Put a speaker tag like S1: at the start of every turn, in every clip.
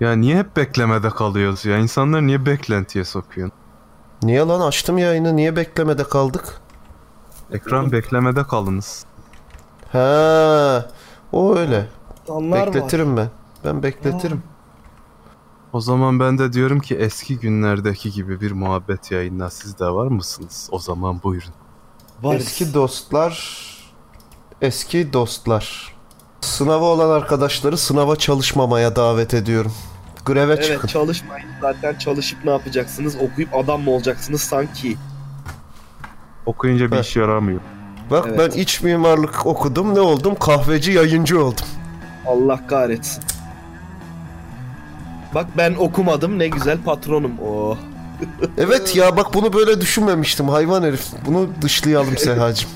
S1: Ya niye hep beklemede kalıyoruz ya? İnsanları niye beklentiye sokuyorsun?
S2: Niye lan açtım yayını niye beklemede kaldık?
S1: Ekran beklemede kalınız.
S2: Ha, o öyle.
S3: Onlar var.
S2: bekletirim ben. Ben bekletirim.
S1: O zaman ben de diyorum ki eski günlerdeki gibi bir muhabbet yayınına siz de var mısınız? O zaman buyurun.
S3: Var.
S2: Eski dostlar eski dostlar. Sınava olan arkadaşları sınava çalışmamaya davet ediyorum. Greve
S3: Evet
S2: çıkın.
S3: çalışmayın zaten çalışıp ne yapacaksınız? Okuyup adam mı olacaksınız sanki?
S1: Okuyunca bir
S2: Heh.
S1: işe yaramıyor.
S2: Bak
S3: Evet.
S2: ben iç mimarlık okudum ne oldum? Kahveci yayıncı oldum.
S3: Allah kahretsin. Bak ben okumadım ne güzel patronum. Oh.
S2: Evet ya bak bunu böyle düşünmemiştim hayvan herif. Bunu dışlayalım Sehacım.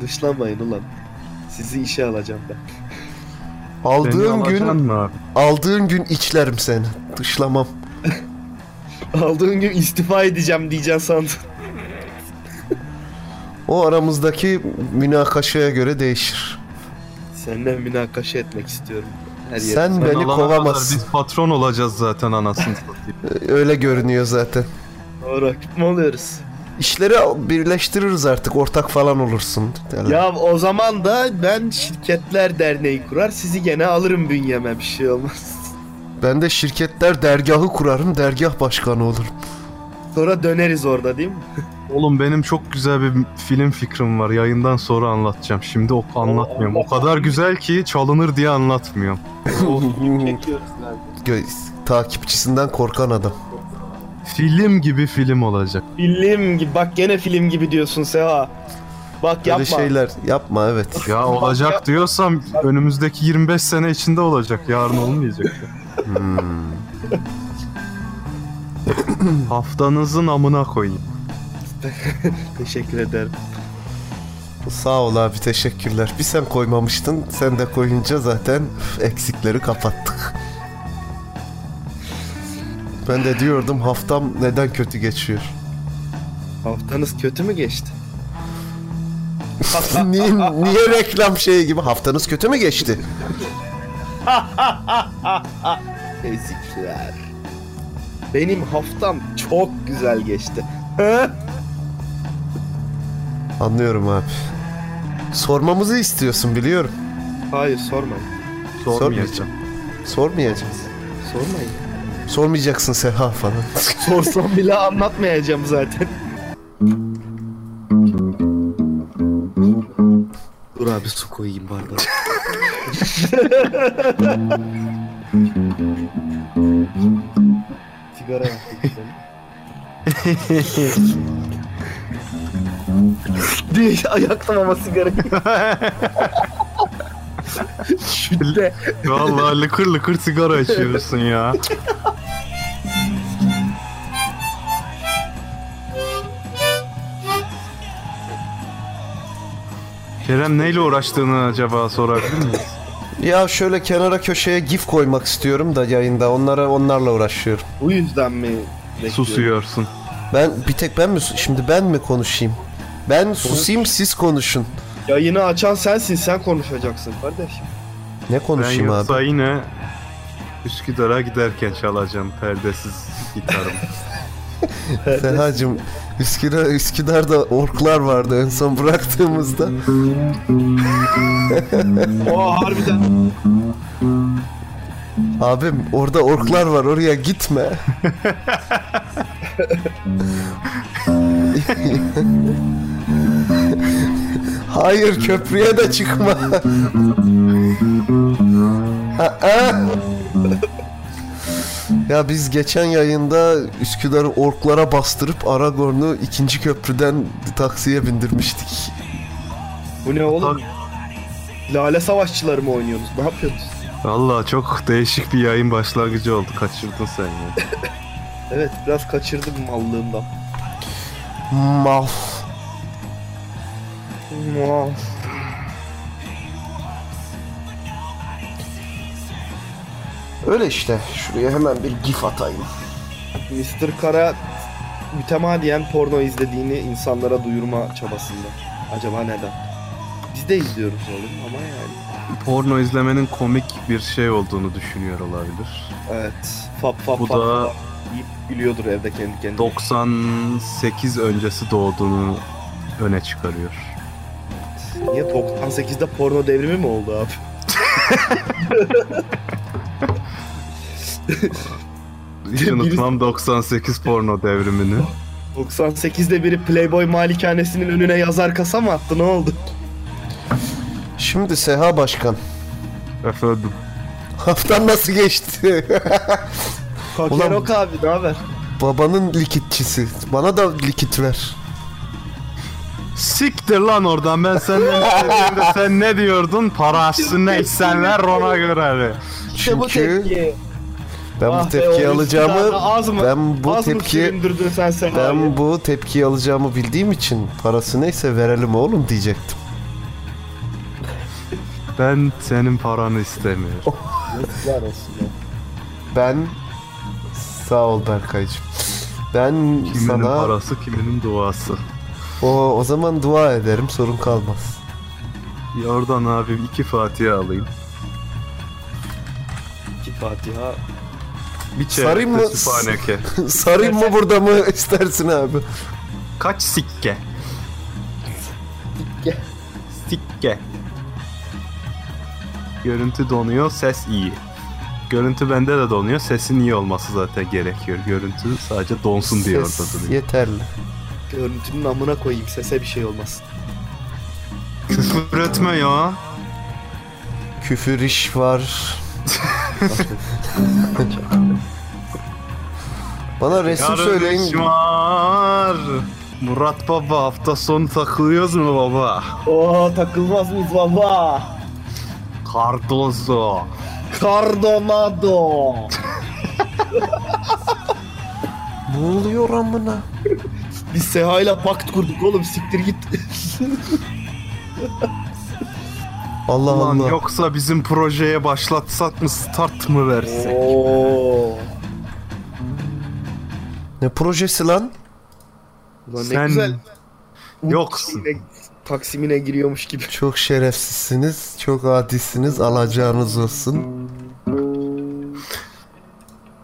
S3: Dışlanmayın ulan. Sizi işe alacağım ben.
S1: Beni
S2: Aldığın
S1: alacaksın
S2: gün
S1: mı abi?
S2: aldığın gün içlerim seni. Dışlamam.
S3: Aldığın gün istifa edeceğim diyeceksin sandım.
S2: O aramızdaki münakaşaya göre değişir.
S3: Seninle münakaşa etmek istiyorum. Her yerde.
S2: Sen
S1: Sen
S2: beni
S1: alana kadar
S2: kovamazsın.
S1: Biz patron olacağız zaten anasını satayım.
S2: Öyle görünüyor zaten.
S3: Doğru rakip mi oluyoruz?
S2: İşleri birleştiririz artık. Ortak falan olursun. derler.
S3: Ya o zaman da ben şirketler derneği kurar sizi gene alırım bünyeme bir şey olmaz.
S2: Ben de şirketler dergahı kurarım. Dergah başkanı olurum.
S3: Sonra döneriz orada değil mi?
S1: Oğlum benim çok güzel bir film fikrim var. Yayından sonra anlatacağım. Şimdi o anlatmıyorum. O kadar güzel ki çalınır diye anlatmıyorum.
S3: Çekiyoruz abi.
S2: Gö- Takipçisinden korkan adam.
S1: Film gibi film olacak.
S3: Film gibi bak gene film gibi diyorsun Seha. Bak
S2: Böyle
S3: yapma.
S2: şeyler yapma evet.
S1: Ya olacak diyorsam önümüzdeki 25 sene içinde olacak. Yarın olmayacak. Hmm. Haftanızın amına koyayım.
S3: Teşekkür ederim.
S2: Sağ ol abi teşekkürler. Bir sen koymamıştın. Sen de koyunca zaten üf, eksikleri kapattık. Ben de diyordum haftam neden kötü geçiyor?
S3: Haftanız kötü mü geçti?
S2: niye, niye reklam şeyi gibi? Haftanız kötü mü geçti?
S3: Ezikler. Benim haftam çok güzel geçti.
S2: Anlıyorum abi. Sormamızı istiyorsun biliyorum.
S3: Hayır sormayın.
S1: Sormayacağım.
S2: Sormayacağız.
S3: Sormayın.
S2: Sormayacaksın Seha falan.
S3: Sorsam bile anlatmayacağım zaten. Dur abi su koyayım bardağa. Sigara yaptık. Değil, ayaktım ama sigarayı. Şütte.
S1: Vallahi lıkır lıkır sigara içiyorsun ya. Kerem neyle uğraştığını acaba sorabilir miyiz?
S2: ya şöyle kenara köşeye gif koymak istiyorum da yayında. Onlara onlarla uğraşıyorum.
S3: Bu yüzden mi? bekliyorum?
S1: Susuyorsun.
S2: Ben bir tek ben mi şimdi ben mi konuşayım? Ben susayım siz konuşun.
S3: Yayını açan sensin, sen konuşacaksın kardeşim.
S2: Ne
S1: Ben
S2: konuşayım abi?
S1: yoksa yine Üsküdar'a giderken çalacağım perdesiz gitarım.
S2: Sehacım Üsküdar, Üsküdar'da orklar vardı en son bıraktığımızda.
S3: Oha harbiden.
S2: Abim orada orklar var oraya gitme. Hayır köprüye de çıkma. Ha, ha. ya biz geçen yayında Üsküdar'ı orklara bastırıp Aragorn'u ikinci köprüden taksiye bindirmiştik.
S3: Bu ne oğlum? Lale savaşçıları mı oynuyorsunuz? Ne yapıyorsunuz?
S1: Valla çok değişik bir yayın başlangıcı oldu. Kaçırdın sen ya.
S3: Evet biraz kaçırdım mallığımdan.
S2: Mal. Öyle işte. Şuraya hemen bir gif atayım.
S3: Mr. Kara mütemadiyen porno izlediğini insanlara duyurma çabasında. Acaba neden? Biz de izliyoruz oğlum ama yani.
S1: porno izlemenin komik bir şey olduğunu düşünüyor olabilir.
S3: Evet. Fap fap
S1: Bu
S3: fap
S1: da-
S3: fap deyip gülüyordur evde kendi kendine.
S1: 98 öncesi doğduğunu öne çıkarıyor.
S3: Niye 98'de porno devrimi mi oldu abi?
S1: Hiç
S3: Birisi-
S1: unutmam 98 porno devrimini.
S3: 98'de biri Playboy malikanesinin önüne yazar kasa mı attı ne oldu?
S2: Şimdi Seha Başkan.
S1: Efendim.
S2: Haftan nasıl geçti?
S3: Kakerok abi ne haber?
S2: Babanın likitçisi. Bana da likit ver.
S1: Siktir lan oradan ben senden istediğimde sen ne diyordun? Parasını neysen ver ona göre.
S3: İşte Şey, bu
S2: Çünkü
S3: tepki.
S2: Ben
S3: Ah
S2: bu
S3: be
S2: tepkiyi
S3: oğlum,
S2: alacağımı
S3: Sinan, ağız mı-
S2: ben bu
S3: Az mı
S2: tepki
S3: süründürdün sen sen abi?
S2: ben bu tepkiyi alacağımı bildiğim için parası neyse verelim oğlum diyecektim.
S1: Ben senin paranı istemiyorum.
S3: Yazıklar olsun ya.
S2: Ben sağ ol Berkaycığım. Ben
S1: Kiminin
S2: sana
S1: parası kiminin duası.
S2: o o zaman dua ederim sorun kalmaz.
S1: Ya Oradan abim iki Fatiha alayım.
S3: İki Fatiha.
S1: Bir
S2: Sarayım
S1: çeyrek de
S2: mı?
S1: Sübhaneke.
S2: Sarayım mı burada mı istersin abi?
S1: Kaç sikke?
S3: Sikke.
S1: Sikke. Görüntü donuyor, ses iyi. Görüntü bende de donuyor, sesin iyi olması zaten gerekiyor. Görüntü sadece donsun diye orada
S2: Ses
S1: duruyor.
S2: yeterli.
S3: Görüntünün amına koyayım sese bir şey olmasın.
S1: Küfür etme ya.
S2: Küfür iş var. Bana resim
S1: Yarın iş
S2: şey söyleyin.
S1: var. Murat baba hafta sonu takılıyoruz mu baba?
S3: Oo takılmaz mıyız baba?
S1: Cardozo.
S3: Cardonado.
S2: Ne oluyor amına?
S3: Biz Seha'yla pakt kurduk oğlum siktir git.
S2: Allah
S1: Ulan
S2: Allah.
S1: yoksa bizim projeye başlatsak mı start mı versek?
S3: Oo.
S2: Ne projesi lan?
S3: Ulan ne
S1: Sen
S3: güzel.
S1: yoksun.
S3: Taksimine, taksimine giriyormuş gibi.
S2: Çok şerefsizsiniz, çok adisiniz, alacağınız olsun.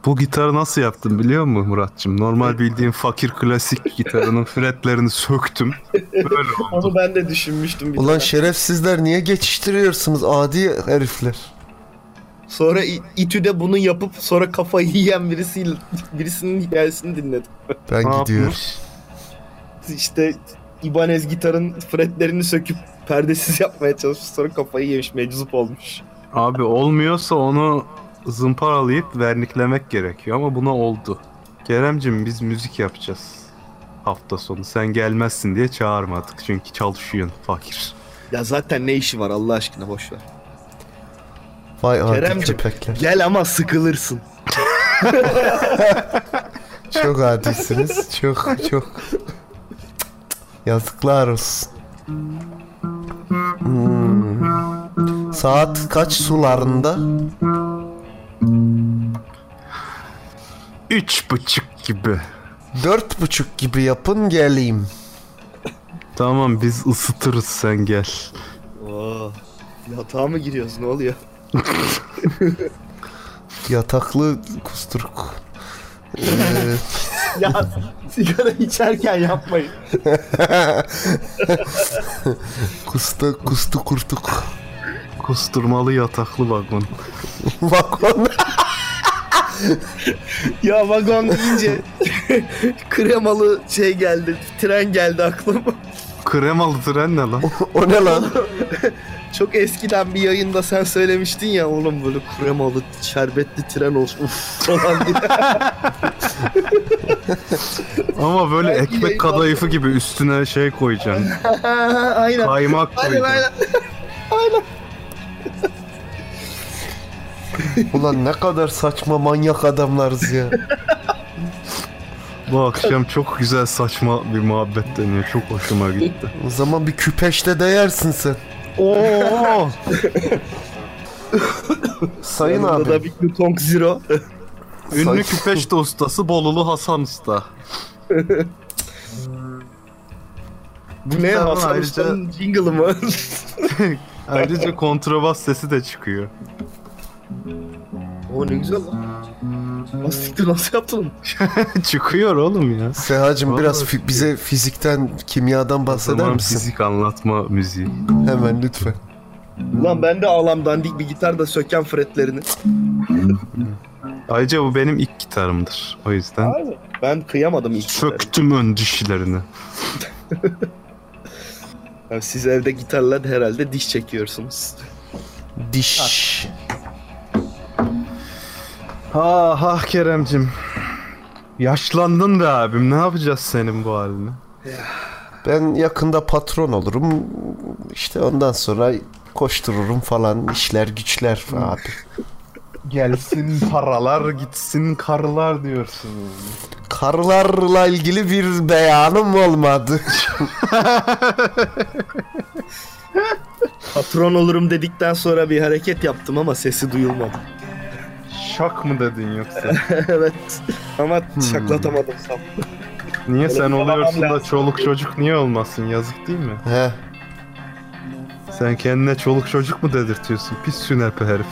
S1: Bu gitarı nasıl yaptım biliyor musun Muratçım? Normal bildiğin fakir klasik gitarının fretlerini söktüm. Böyle oldu.
S3: Onu ben de düşünmüştüm bir
S2: Ulan
S3: tane.
S2: şerefsizler niye geçiştiriyorsunuz adi herifler?
S3: Sonra İ- İTÜ'de bunu yapıp sonra kafayı yiyen birisiyle birisinin hikayesini dinledim.
S2: Ben
S1: Ne
S2: gidiyorum.
S1: yapmış?
S3: İşte İbanez gitarın fretlerini söküp perdesiz yapmaya çalışmış sonra kafayı yemiş meczup olmuş.
S1: Abi olmuyorsa onu zımparalayıp verniklemek gerekiyor ama buna oldu. Keremcim biz müzik yapacağız hafta sonu. Sen gelmezsin diye çağırmadık çünkü çalışıyorsun fakir.
S3: Ya zaten ne işi var Allah aşkına boş ver.
S2: Vay adi
S3: Keremciğim.
S2: köpekler.
S3: Gel ama sıkılırsın.
S2: Çok adisiniz. Çok çok. Yazıklar olsun. Hmm. Saat kaç sularında?
S1: Üç buçuk gibi.
S2: Dört buçuk gibi yapın geleyim.
S1: Tamam biz ısıtırız sen gel.
S3: Oo. Yatağa mı giriyoruz ne oluyor?
S2: Yataklı kusturuk. Ee,
S3: ya sigara içerken yapmayın.
S2: kusta kustu kurtuk.
S1: Kusturmalı yataklı vagon.
S2: Vagon.
S3: Ya vagon deyince kremalı şey geldi, tren geldi aklıma.
S1: Kremalı tren ne lan?
S2: O ne lan?
S3: Çok eskiden bir yayında sen söylemiştin ya oğlum böyle kremalı, şerbetli tren olsun uf falan diye.
S1: Ama böyle
S3: Belki yayın
S1: ekmek kadayıfı gibi üstüne şey koyacaksın.
S3: aynen.
S1: Kaymak
S3: Aynen
S1: koyacaksın.
S3: aynen.
S2: Ulan ne kadar saçma manyak adamlarız ya.
S1: Bu akşam çok güzel saçma bir muhabbet dönüyor. Çok hoşuma gitti.
S2: O zaman bir küpeşte değersin sen.
S1: Oo!
S2: Sayın
S3: Yanında
S2: abi.
S3: da bir Newton Zero.
S1: Ünlü
S2: Say-
S1: küpeşte ustası Bolulu Hasan Usta.
S3: Bu ne
S1: Tamam,
S3: Hasan
S1: ayrıca-
S3: Usta'nın jingle'ı mı?
S1: Ayrıca kontrabas sesi de çıkıyor.
S3: O ne güzel lan. Lan siktir nasıl yaptın onu?
S1: çıkıyor oğlum ya.
S2: Sehacım
S1: Vallahi
S2: biraz fi- bize fizikten, kimyadan bahseder
S1: Tamam
S2: misin?
S1: fizik anlatma müziği.
S2: Hemen lütfen.
S3: Lan ben de ağlam dandik bir gitar da söken fretlerini.
S1: Ayrıca bu benim ilk gitarımdır. O yüzden
S3: Abi ben kıyamadım ilk gitarı.
S1: söktüm ön dişlerini.
S3: Yani siz evde gitarla herhalde diş çekiyorsunuz.
S2: Diş.
S1: Ha ha Keremcim. Yaşlandın da abim. Ne yapacağız senin bu haline?
S2: Ben yakında patron olurum. İşte ondan sonra koştururum falan işler güçler abi.
S1: Gelsin paralar gitsin karlar diyorsun.
S2: Karılarla ilgili bir beyanım olmadı.
S3: Patron olurum dedikten sonra bir hareket yaptım ama sesi duyulmadı.
S1: Şak mı dedin yoksa?
S3: evet ama şaklatamadım sağ ol.
S1: Niye sen
S3: Telefon alamam
S1: oluyorsun da
S3: lazım.
S1: çoluk çocuk niye olmasın yazık değil mi?
S2: He.
S1: Sen kendine çoluk çocuk mu dedirtiyorsun pis sünepe herif.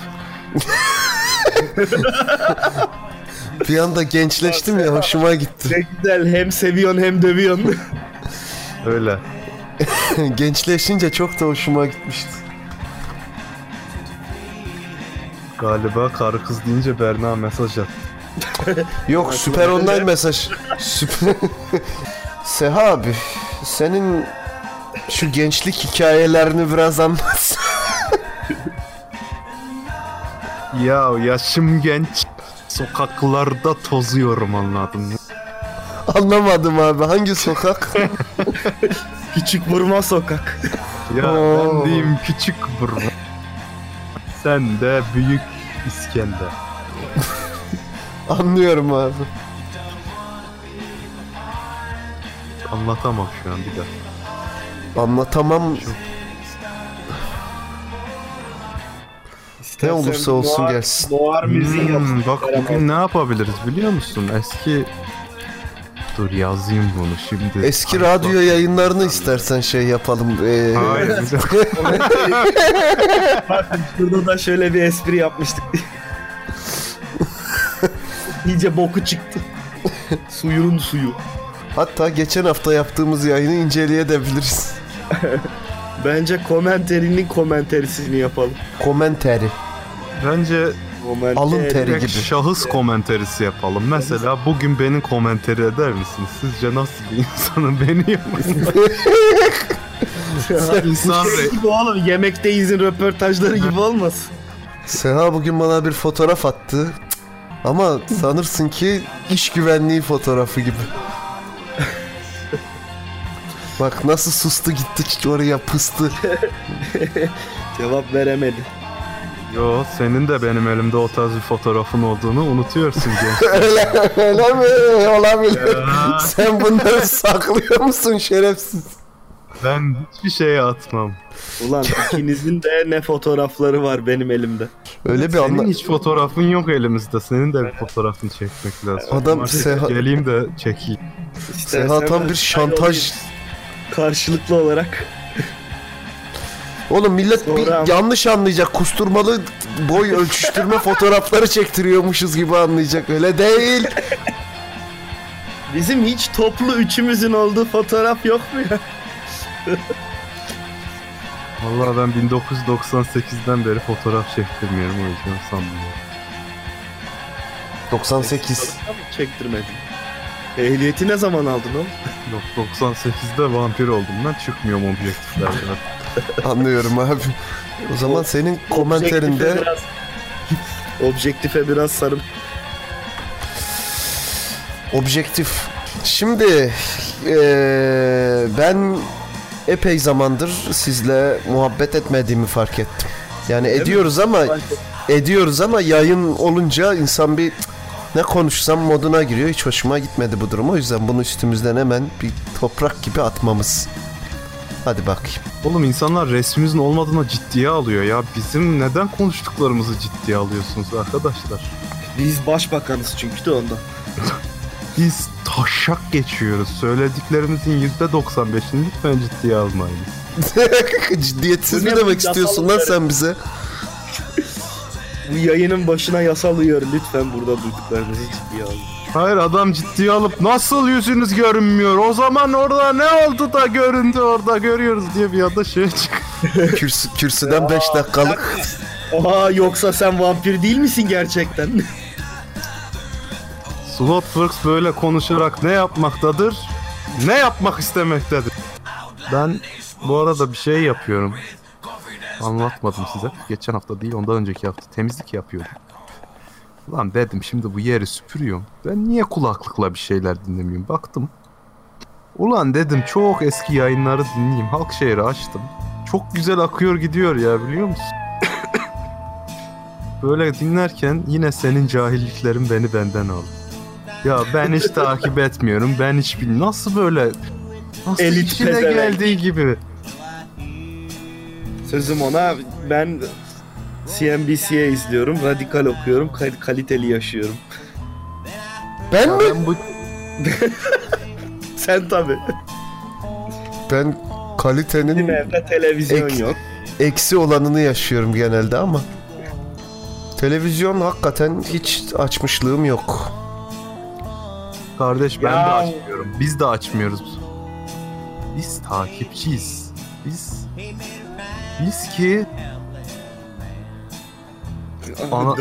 S2: Bir anda gençleştim ya hoşuma gitti.
S3: Ne güzel hem seviyorsun hem dövüyorsun.
S1: Öyle.
S2: Gençleşince çok da hoşuma gitmişti.
S1: Galiba karı kız deyince Berna mesaj attı.
S2: Yok süper online mesaj. Süper. Seha abi senin şu gençlik hikayelerini biraz anlatsana.
S1: Ya yaşım genç. Sokaklarda tozuyorum anladın mı?
S2: Anlamadım abi hangi sokak?
S3: Küçük vurma sokak.
S1: Ya ben
S2: Oo.
S1: diyeyim küçük burma. Sen de büyük İskender.
S2: Anlıyorum abi.
S1: Anlatamam şu an bir daha.
S2: Anlatamam ne
S3: İstersen
S2: olursa olsun
S3: noir-
S2: gelsin.
S3: Noir müziği
S1: Hmm,
S3: yapsın.
S1: bak
S3: Beraber.
S1: bugün ne yapabiliriz biliyor musun? Eski... Dur yazayım bunu şimdi.
S2: Eski radyo yayınlarını istersen şey yapalım. ee,
S1: Hayır. bir dakika.
S3: Burada da şöyle bir espri yapmıştık. İyice boku çıktı. Suyun suyu.
S2: Hatta geçen hafta yaptığımız yayını inceleyebiliriz.
S3: Bence komenterinin komenterisini yapalım.
S2: Komenteri.
S1: Bence
S3: Komenteri.
S2: Alın teri.
S1: direkt
S2: gibi.
S1: şahıs komenterisi yapalım. Mesela bugün beni komenteri eder misiniz? Sizce nasıl bir insanım beni yapın? İnsan
S3: Şey
S1: re-
S3: gibi oğlum yemekte izin röportajları gibi olmasın.
S2: Seha bugün bana bir fotoğraf attı. Cık. Ama sanırsın ki iş güvenliği fotoğrafı gibi. Bak nasıl sustu gittik oraya pıstı.
S3: Cevap veremedi.
S1: Yo senin de benim elimde o tarz bir fotoğrafın olduğunu unutuyorsun genç.
S2: öyle, öyle mi? Olabilir.
S1: Ya.
S2: Sen bunları saklıyor musun şerefsiz?
S1: ben hiçbir şeye atmam.
S3: Ulan ikinizin de ne fotoğrafları var benim elimde.
S2: Öyle bir anla...
S1: Senin hiç fotoğrafın yok elimizde. Senin de bir fotoğrafını çekmek lazım.
S2: Adam
S1: Artık
S2: Seha-
S1: Geleyim de çekeyim.
S2: Seha
S3: İstersen
S2: tam
S3: ben
S2: bir şantaj.
S3: Karşılıklı olarak.
S2: Oğlum millet bir
S3: Sonra-
S2: yanlış anlayacak. Kusturmalı boy ölçüştürme fotoğrafları çektiriyormuşuz gibi anlayacak. Öyle değil.
S3: Bizim hiç toplu üçümüzün olduğu fotoğraf yok mu ya?
S1: Vallahi ben 1998'den beri fotoğraf çektirmiyorum o yüzden sanmıyorum.
S2: 98.
S3: Çektirmedim. Ehliyeti ne zaman aldın oğlum?
S1: Yok 98'de vampir oldum ben çıkmıyorum objektiflerden.
S2: Anlıyorum abi. O zaman senin
S3: Objektife
S2: komenterinde
S3: biraz, objektife biraz sarım.
S2: objektif. Şimdi eee, ben epey zamandır sizle muhabbet etmediğimi fark ettim. Yani
S3: mi?
S2: ediyoruz ama ediyoruz ama yayın olunca insan bir "Cık, ne konuşsam moduna giriyor. Hiç hoşuma gitmedi bu durum. O yüzden bunu üstümüzden hemen bir toprak gibi atmamız. Hadi bakayım.
S1: Oğlum insanlar resmimizin olmadığına ciddiye alıyor ya. Bizim neden konuştuklarımızı ciddiye alıyorsunuz arkadaşlar?
S3: Biz başbakanız çünkü de ondan.
S1: Biz taşak geçiyoruz. Söylediklerimizin %95'ini lütfen ciddiye almayınız.
S2: Ciddiyetsiz
S3: Bu
S2: mi
S3: ne
S2: demek
S3: bu?
S2: istiyorsun lan
S3: Yasalları.
S2: sen bize?
S3: Bu yayının başına yasal uyarı lütfen burada duyduklarınızı ciddiye alın.
S1: Hayır adam ciddiye alıp nasıl yüzünüz görünmüyor? O zaman orada ne oldu da göründü orada görüyoruz diye bir anda şey çık.
S2: Kürsü, kürsüden 5 dakikalık.
S3: Aa yoksa sen vampir değil misin gerçekten?
S1: Slotworks böyle konuşarak ne yapmaktadır? Ne yapmak istemektedir? Ben bu arada bir şey yapıyorum. Anlatmadım size. Geçen hafta değil ondan önceki hafta temizlik yapıyordum. Lan dedim şimdi bu yeri süpürüyorum. Ben niye kulaklıkla bir şeyler dinlemiyorum? Baktım. Ulan dedim çok eski yayınları dinleyeyim. Halk şehri açtım. Çok güzel akıyor gidiyor ya biliyor musun? Böyle dinlerken yine senin cahilliklerin beni benden aldı. Ya ben hiç takip etmiyorum. Ben hiç bilmiyorum. Nasıl böyle nasıl
S3: Elit
S1: işine
S3: pezevenk.
S1: geldiği gibi.
S3: Sözüm ona ben CNBC'ye izliyorum, radikal okuyorum, kal- kaliteli yaşıyorum.
S2: Ben mi?
S1: Ben bu
S3: Sen tabi.
S2: Ben
S3: Benim
S2: kalitenin
S3: evde televizyon
S2: Ek-
S3: yok.
S2: eksi olanını yaşıyorum genelde ama. Televizyon hakikaten hiç açmışlığım yok.
S1: Kardeş ben
S3: Ya.
S1: de açmıyorum. Biz de açmıyoruz. Biz takipçiyiz. Biz biz ki Ana-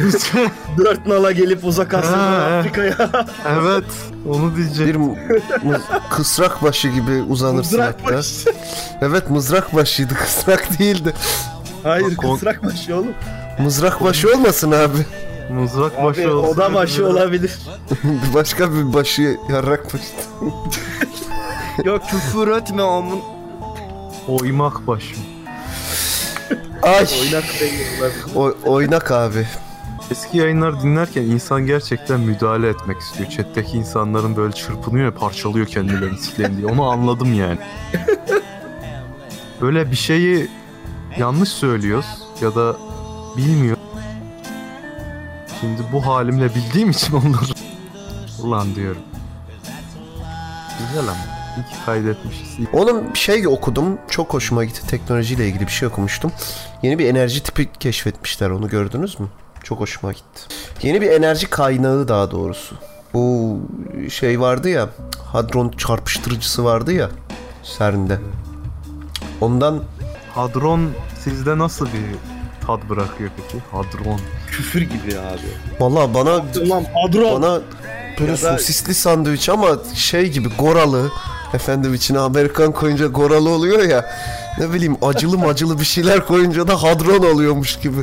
S1: biz-
S3: Dört nala gelip uzak
S1: Ha,
S3: Asya'dan
S1: ha.
S3: Afrika'ya
S1: evet onu
S2: Bir
S1: diyeceğim.
S2: mu- mız- kısrak başı gibi uzanırsın
S3: mızrak
S2: hatta.
S3: başı.
S2: Evet mızrak başıydı kısrak değildi.
S3: Hayır
S1: Bak, kon-
S3: kısrak başı oğlum.
S2: Mızrak başı olmasın abi.
S1: Mızrak
S3: Abi
S1: başı olsun.
S3: oda başı olabilir.
S2: Başka bir başı yarrak başı.
S3: yok küfür etme omun.
S1: Oymak başı.
S2: Ay
S3: Oynak beyin olabilir.
S2: o- oynak abi.
S1: Eski yayınlar dinlerken insan gerçekten müdahale etmek istiyor. Chat'teki insanların böyle çırpınıyor ya, parçalıyor kendilerini sikleyin diye. Onu anladım yani. Böyle bir şeyi yanlış söylüyoruz ya da bilmiyor. Şimdi bu halimle bildiğim için onları ulan diyorum. Güzel ama. İyi ki kaydetmişiz. İyi-
S2: Oğlum şey okudum. Çok hoşuma gitti. Teknolojiyle ilgili bir şey okumuştum. Yeni bir enerji tipi keşfetmişler. Onu gördünüz mü? Çok hoşuma gitti. Yeni bir enerji kaynağı daha doğrusu. Bu şey vardı ya. Hadron çarpıştırıcısı vardı ya. CERN'de. Ondan
S1: Hadron sizde nasıl bir tad bırakıyor peki? Hadron.
S3: Küfür gibi abi.
S2: valla bana
S3: Ulan padron.
S2: bana böyle
S3: Ya da-
S2: sosisli sandviç ama şey gibi goralı. Efendim içine Amerikan koyunca goralı oluyor ya. Ne bileyim acılı macılı bir şeyler koyunca da hadron oluyormuş gibi.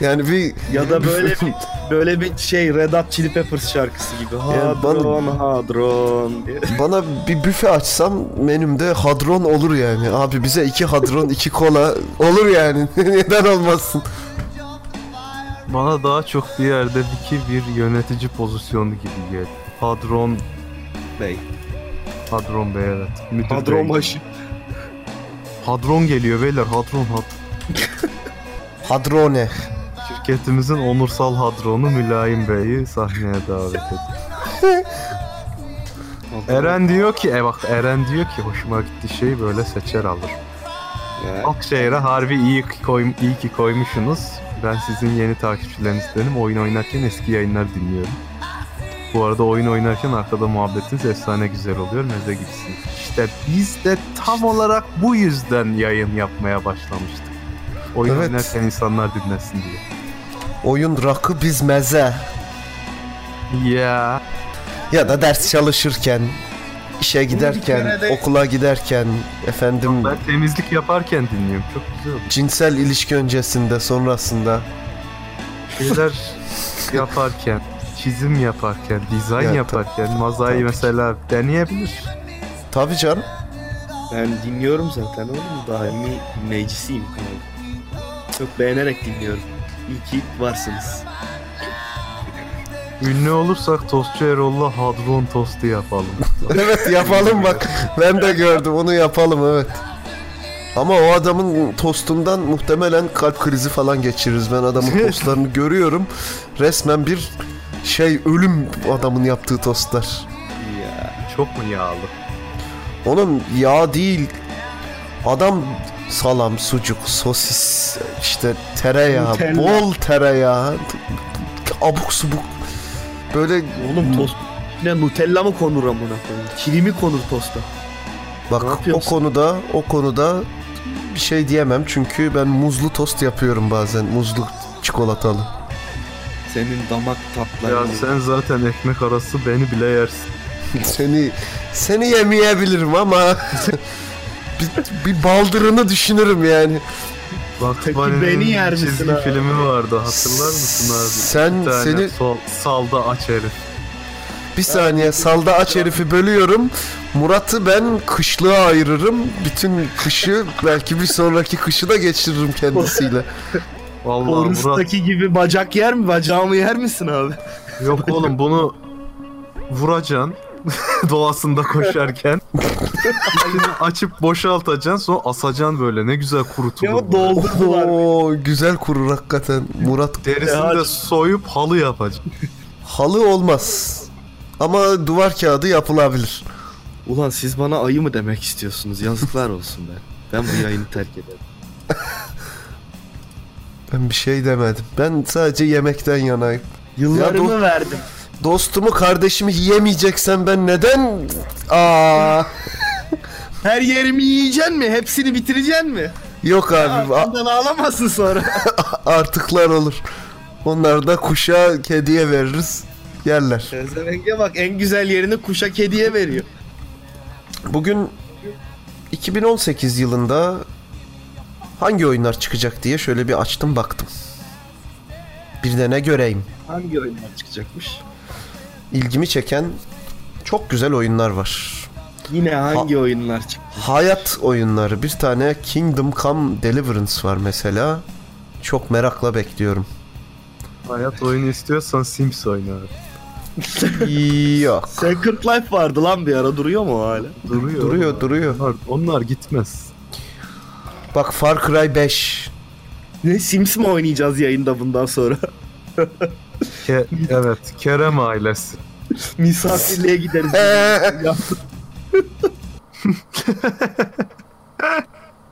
S2: Yani bir
S3: Ya da böyle bir, böyle bir şey Red Hot Chili Peppers şarkısı gibi.
S2: Ya bana-
S3: Hadron, hadron diye.
S2: bana bir büfe açsam menümde hadron olur yani. Abi bize iki hadron iki kola olur yani. Neden olmasın?
S1: Bana daha çok bir yerde iki bir yönetici pozisyonu gibi geldi. Hadron,
S3: Bey.
S1: Hadron Bey evet. Müdür
S3: Hadron
S1: bey.
S3: başı.
S1: Hadron geliyor beyler. Hadron, had-
S2: Hadrone.
S1: şirketimizin onursal hadronu Mülayim Bey'i sahneye davet ediyor. Eren diyor ki, e bak Eren diyor ki hoşuma gitti şey böyle seçer alır.
S3: Ya.
S1: Akşehir'e harbi iyi ki, koy, iyi ki koymuşsunuz. Ben sizin yeni takipçilerinizdenim. Oyun oynarken eski yayınlar dinliyorum. Bu arada oyun oynarken arkada muhabbetiniz efsane güzel oluyor. Meze gibisiniz. İşte biz de tam olarak bu yüzden yayın yapmaya başlamıştık. Oyun
S2: Evet.
S1: oynarken insanlar dinlesin diye.
S2: Oyun rakı biz meze.
S1: Ya
S2: Ya da ders çalışırken, işe giderken,
S3: kere de-
S2: okula giderken, efendim
S1: ben temizlik yaparken dinliyorum. Çok güzel oldu.
S2: cinsel ilişki öncesinde, sonrasında.
S1: Şeyler yaparken, çizim yaparken, dizayn
S2: Ya, ta-
S1: yaparken, mazayı
S2: tabii ki.
S1: mesela deneyebilir.
S2: Tabii canım.
S3: Ben dinliyorum zaten oğlum. Daimi dinleyicisiyim kanalda. Çok beğenerek dinliyorum. İyi ki varsınız.
S1: Ünlü olursak Tostçu Erol'la Hadron tostu yapalım.
S2: Evet yapalım bak. Ben de gördüm onu yapalım evet. Ama o adamın tostundan muhtemelen kalp krizi falan geçiririz. Ben adamın tostlarını görüyorum. Resmen bir şey ölüm adamın yaptığı tostlar.
S3: Ya.
S1: Çok mu yağlı?
S2: Oğlum yağ değil. Adam salam, sucuk, sosis, işte tereyağı,
S3: Nutella.
S2: bol tereyağı, abuk subuk. Böyle
S3: Oğlum tost ne Nutella mı konur amına koyayım? Kili mi konur tosta?
S2: bak
S3: Ne
S2: o
S3: yapıyorsun?
S2: konuda o konuda bir şey diyemem çünkü ben muzlu tost yapıyorum bazen. Muzlu çikolatalı.
S3: Senin damak
S1: Ya
S3: tatları.
S1: sen zaten ekmek arası beni bile yersin.
S2: seni seni yemeyebilirim ama bir, bir baldırını düşünürüm yani.
S1: Bak
S3: Peki beni yer misin
S1: çizgi
S3: abi?
S1: filmi vardı hatırlar mısın abi?
S2: Sen-
S1: Bir tane
S2: seni-
S1: sol, salda aç herif.
S2: Bir saniye salda aç herifi bölüyorum. Murat'ı ben kışlığa ayırırım. Bütün kışı belki bir sonraki kışı da geçiririm kendisiyle.
S1: Vallahi Murat
S3: Horus'taki gibi bacak yer mi? Bacağımı yer misin abi?
S1: Yok oğlum bunu vuracaksın doğasında koşarken. Şimdi açıp boşaltacaksın sonra asacaksın böyle ne güzel kurutulur. bu.
S3: doldurdular.
S2: Oo güzel kurur hakikaten. Murat
S1: Derisini
S3: Ya-
S1: de soyup halı yapacaksın.
S2: halı olmaz. Ama duvar kağıdı yapılabilir.
S3: Ulan siz bana ayı mı demek istiyorsunuz? Yazıklar olsun be. Ben bu yayını terk ederim.
S2: Ben bir şey demedim. Ben sadece yemekten yanayım.
S3: Yıllarımı verdim.
S2: Dostumu kardeşimi yiyemeyeceksen ben neden? Aa.
S3: Her yerimi yiyeceksin mi? Hepsini bitireceksin mi?
S2: Yok abi a-
S3: Ondan ağlamazsın sonra.
S2: artıklar olur. Onları da kuşa kediye veririz. Yerler.
S3: Tezevenge bak en güzel yerini kuşa kediye veriyor.
S2: Bugün 2018 yılında hangi oyunlar çıkacak diye şöyle bir açtım baktım. Bir de ne göreyim.
S3: Hangi oyunlar çıkacakmış?
S2: İlgimi çeken çok güzel oyunlar var.
S3: Yine hangi oyunlar çık?
S2: Hayat oyunları. Bir tane Kingdom Come Deliverance var mesela. Çok merakla bekliyorum.
S1: Hayat oyunu istiyorsan Sims oyna abi.
S2: Yok.
S3: Secret Life vardı lan bir ara duruyor mu o hala?
S1: Duruyor.
S2: Duruyor duruyor.
S1: Onlar, onlar gitmez.
S2: Bak Far Cry 5.
S3: Ne Sims mi oynayacağız yayında bundan sonra?
S1: Ke- evet Kerem ailesi.
S3: Misafirliğe gideriz.
S2: Ee,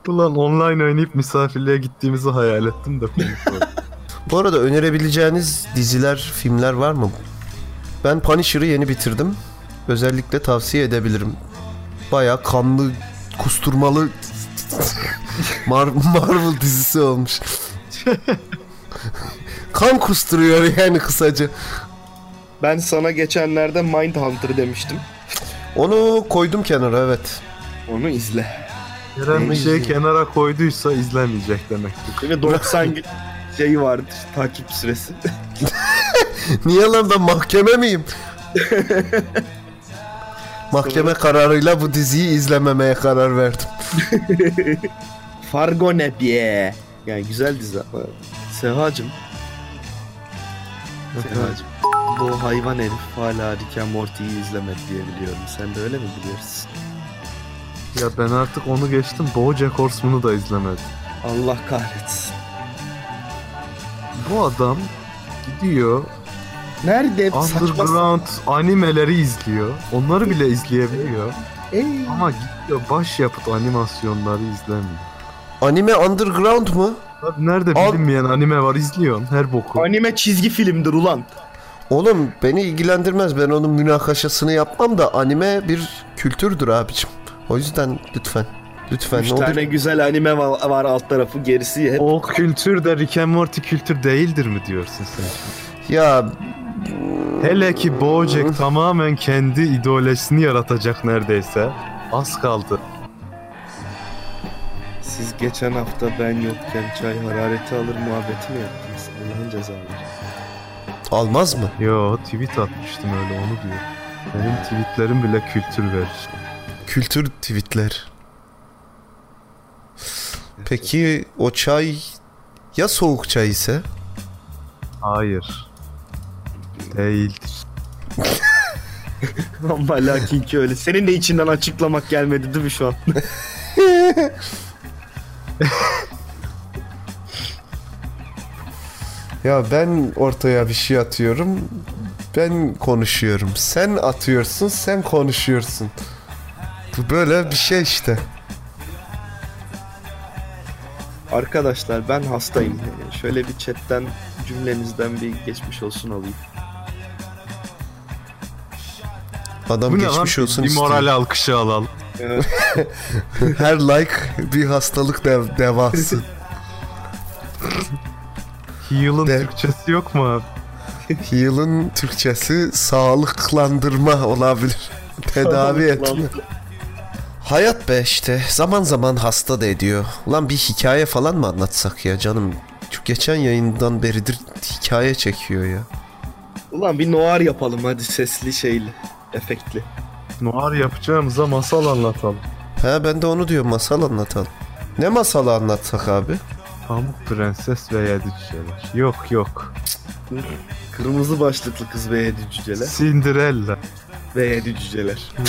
S1: Ulan online oynayıp misafirliğe gittiğimizi hayal ettim de konuşmadım.
S2: Bu arada önerebileceğiniz diziler, filmler var mı? Ben Punisher'ı yeni bitirdim. Özellikle tavsiye edebilirim. Baya kanlı, kusturmalı Mar- Marvel dizisi olmuş. kan kusturuyor yani kısaca.
S3: Ben sana geçenlerde Mindhunter demiştim.
S2: Onu koydum kenara evet.
S3: Onu izle.
S1: Kerem bir şeyi
S2: izliyorum.
S1: kenara koyduysa izlenmeyecek demektir.
S3: Ve 90 gün şeyi vardır şey takip süresi.
S2: Niye lan ben mahkeme miyim? mahkeme kararıyla bu diziyi izlememeye karar verdim.
S3: Fargo ne diye. Yani güzel dizi ama. Sehacım. Sehacım. Bu hayvan herif hala Rick and Morty'yi izlemedi diye biliyorum. Sen de öyle mi biliyorsun?
S1: Ya ben artık onu geçtim. Bojack Horseman'ı da izlemedim.
S3: Allah kahretsin.
S1: Bu adam gidiyor
S3: Nerede? Saçma.
S1: underground animeleri izliyor. Onları bile izleyebiliyor.
S3: Ey.
S1: Ama gidiyor başyapıt animasyonları izlemiyor.
S2: Anime Underground mu?
S1: Abi nerede
S2: Al-
S1: bilinmeyen anime var izliyorsun her boku.
S3: Anime çizgi filmdir ulan.
S2: Oğlum beni ilgilendirmez. Ben onun münakaşasını yapmam da anime bir kültürdür abicim. O yüzden lütfen. Lütfen.
S3: Üç
S2: ne olur.
S3: tane güzel anime va- var alt tarafı gerisi hep
S1: O kültür de Rick and Morty kültür değildir mi diyorsun sen?
S2: Ya
S1: Hele ki Bojack tamamen kendi ideolojisini yaratacak neredeyse. Az kaldı.
S3: Siz geçen hafta ben yokken çay harareti alır muhabbeti mi yaptınız? Allah'ın cezaları.
S2: almaz mı?
S1: Yo tweet atmıştım öyle onu diyor. Benim tweetlerim bile kültür verir.
S2: Kültür tweetler. Peki o çay ya soğuk çay ise?
S1: Hayır. Değildir.
S3: Ama lakin ki öyle. Senin de içinden açıklamak gelmedi değil mi şu an?
S2: Ya ben ortaya bir şey atıyorum. Ben konuşuyorum. Sen atıyorsun, sen konuşuyorsun. Bu böyle bir şey işte.
S3: Arkadaşlar ben hastayım. Ee, Şöyle bir chatten cümlenizden bir geçmiş olsun alayım.
S2: Adam
S1: Bu ne lan?
S2: geçmiş olsun
S1: bir
S2: istiyor.
S1: moral alkışı alalım.
S2: Her like bir hastalık dev- devası.
S1: Heal'ın
S2: De-
S1: Türkçesi yok mu abi?
S2: Heal'ın Türkçesi sağlıklandırma olabilir. Tedavi etme. Hayat be işte zaman zaman hasta da ediyor. Ulan bir hikaye falan mı anlatsak ya canım? Şu geçen yayından beridir hikaye çekiyor ya.
S3: Ulan bir noir yapalım hadi sesli şeyli. Efektli.
S1: Noir yapacağımıza masal anlatalım.
S2: He ben de onu diyorum masal anlatalım. Ne masalı anlatsak abi?
S1: Pamuk Prenses ve Yedi Cüceler. Yok yok.
S3: Kırmızı başlıklı kız ve yedi cüceler.
S1: Cinderella.
S3: Ve yedi cüceler.
S2: Hmm.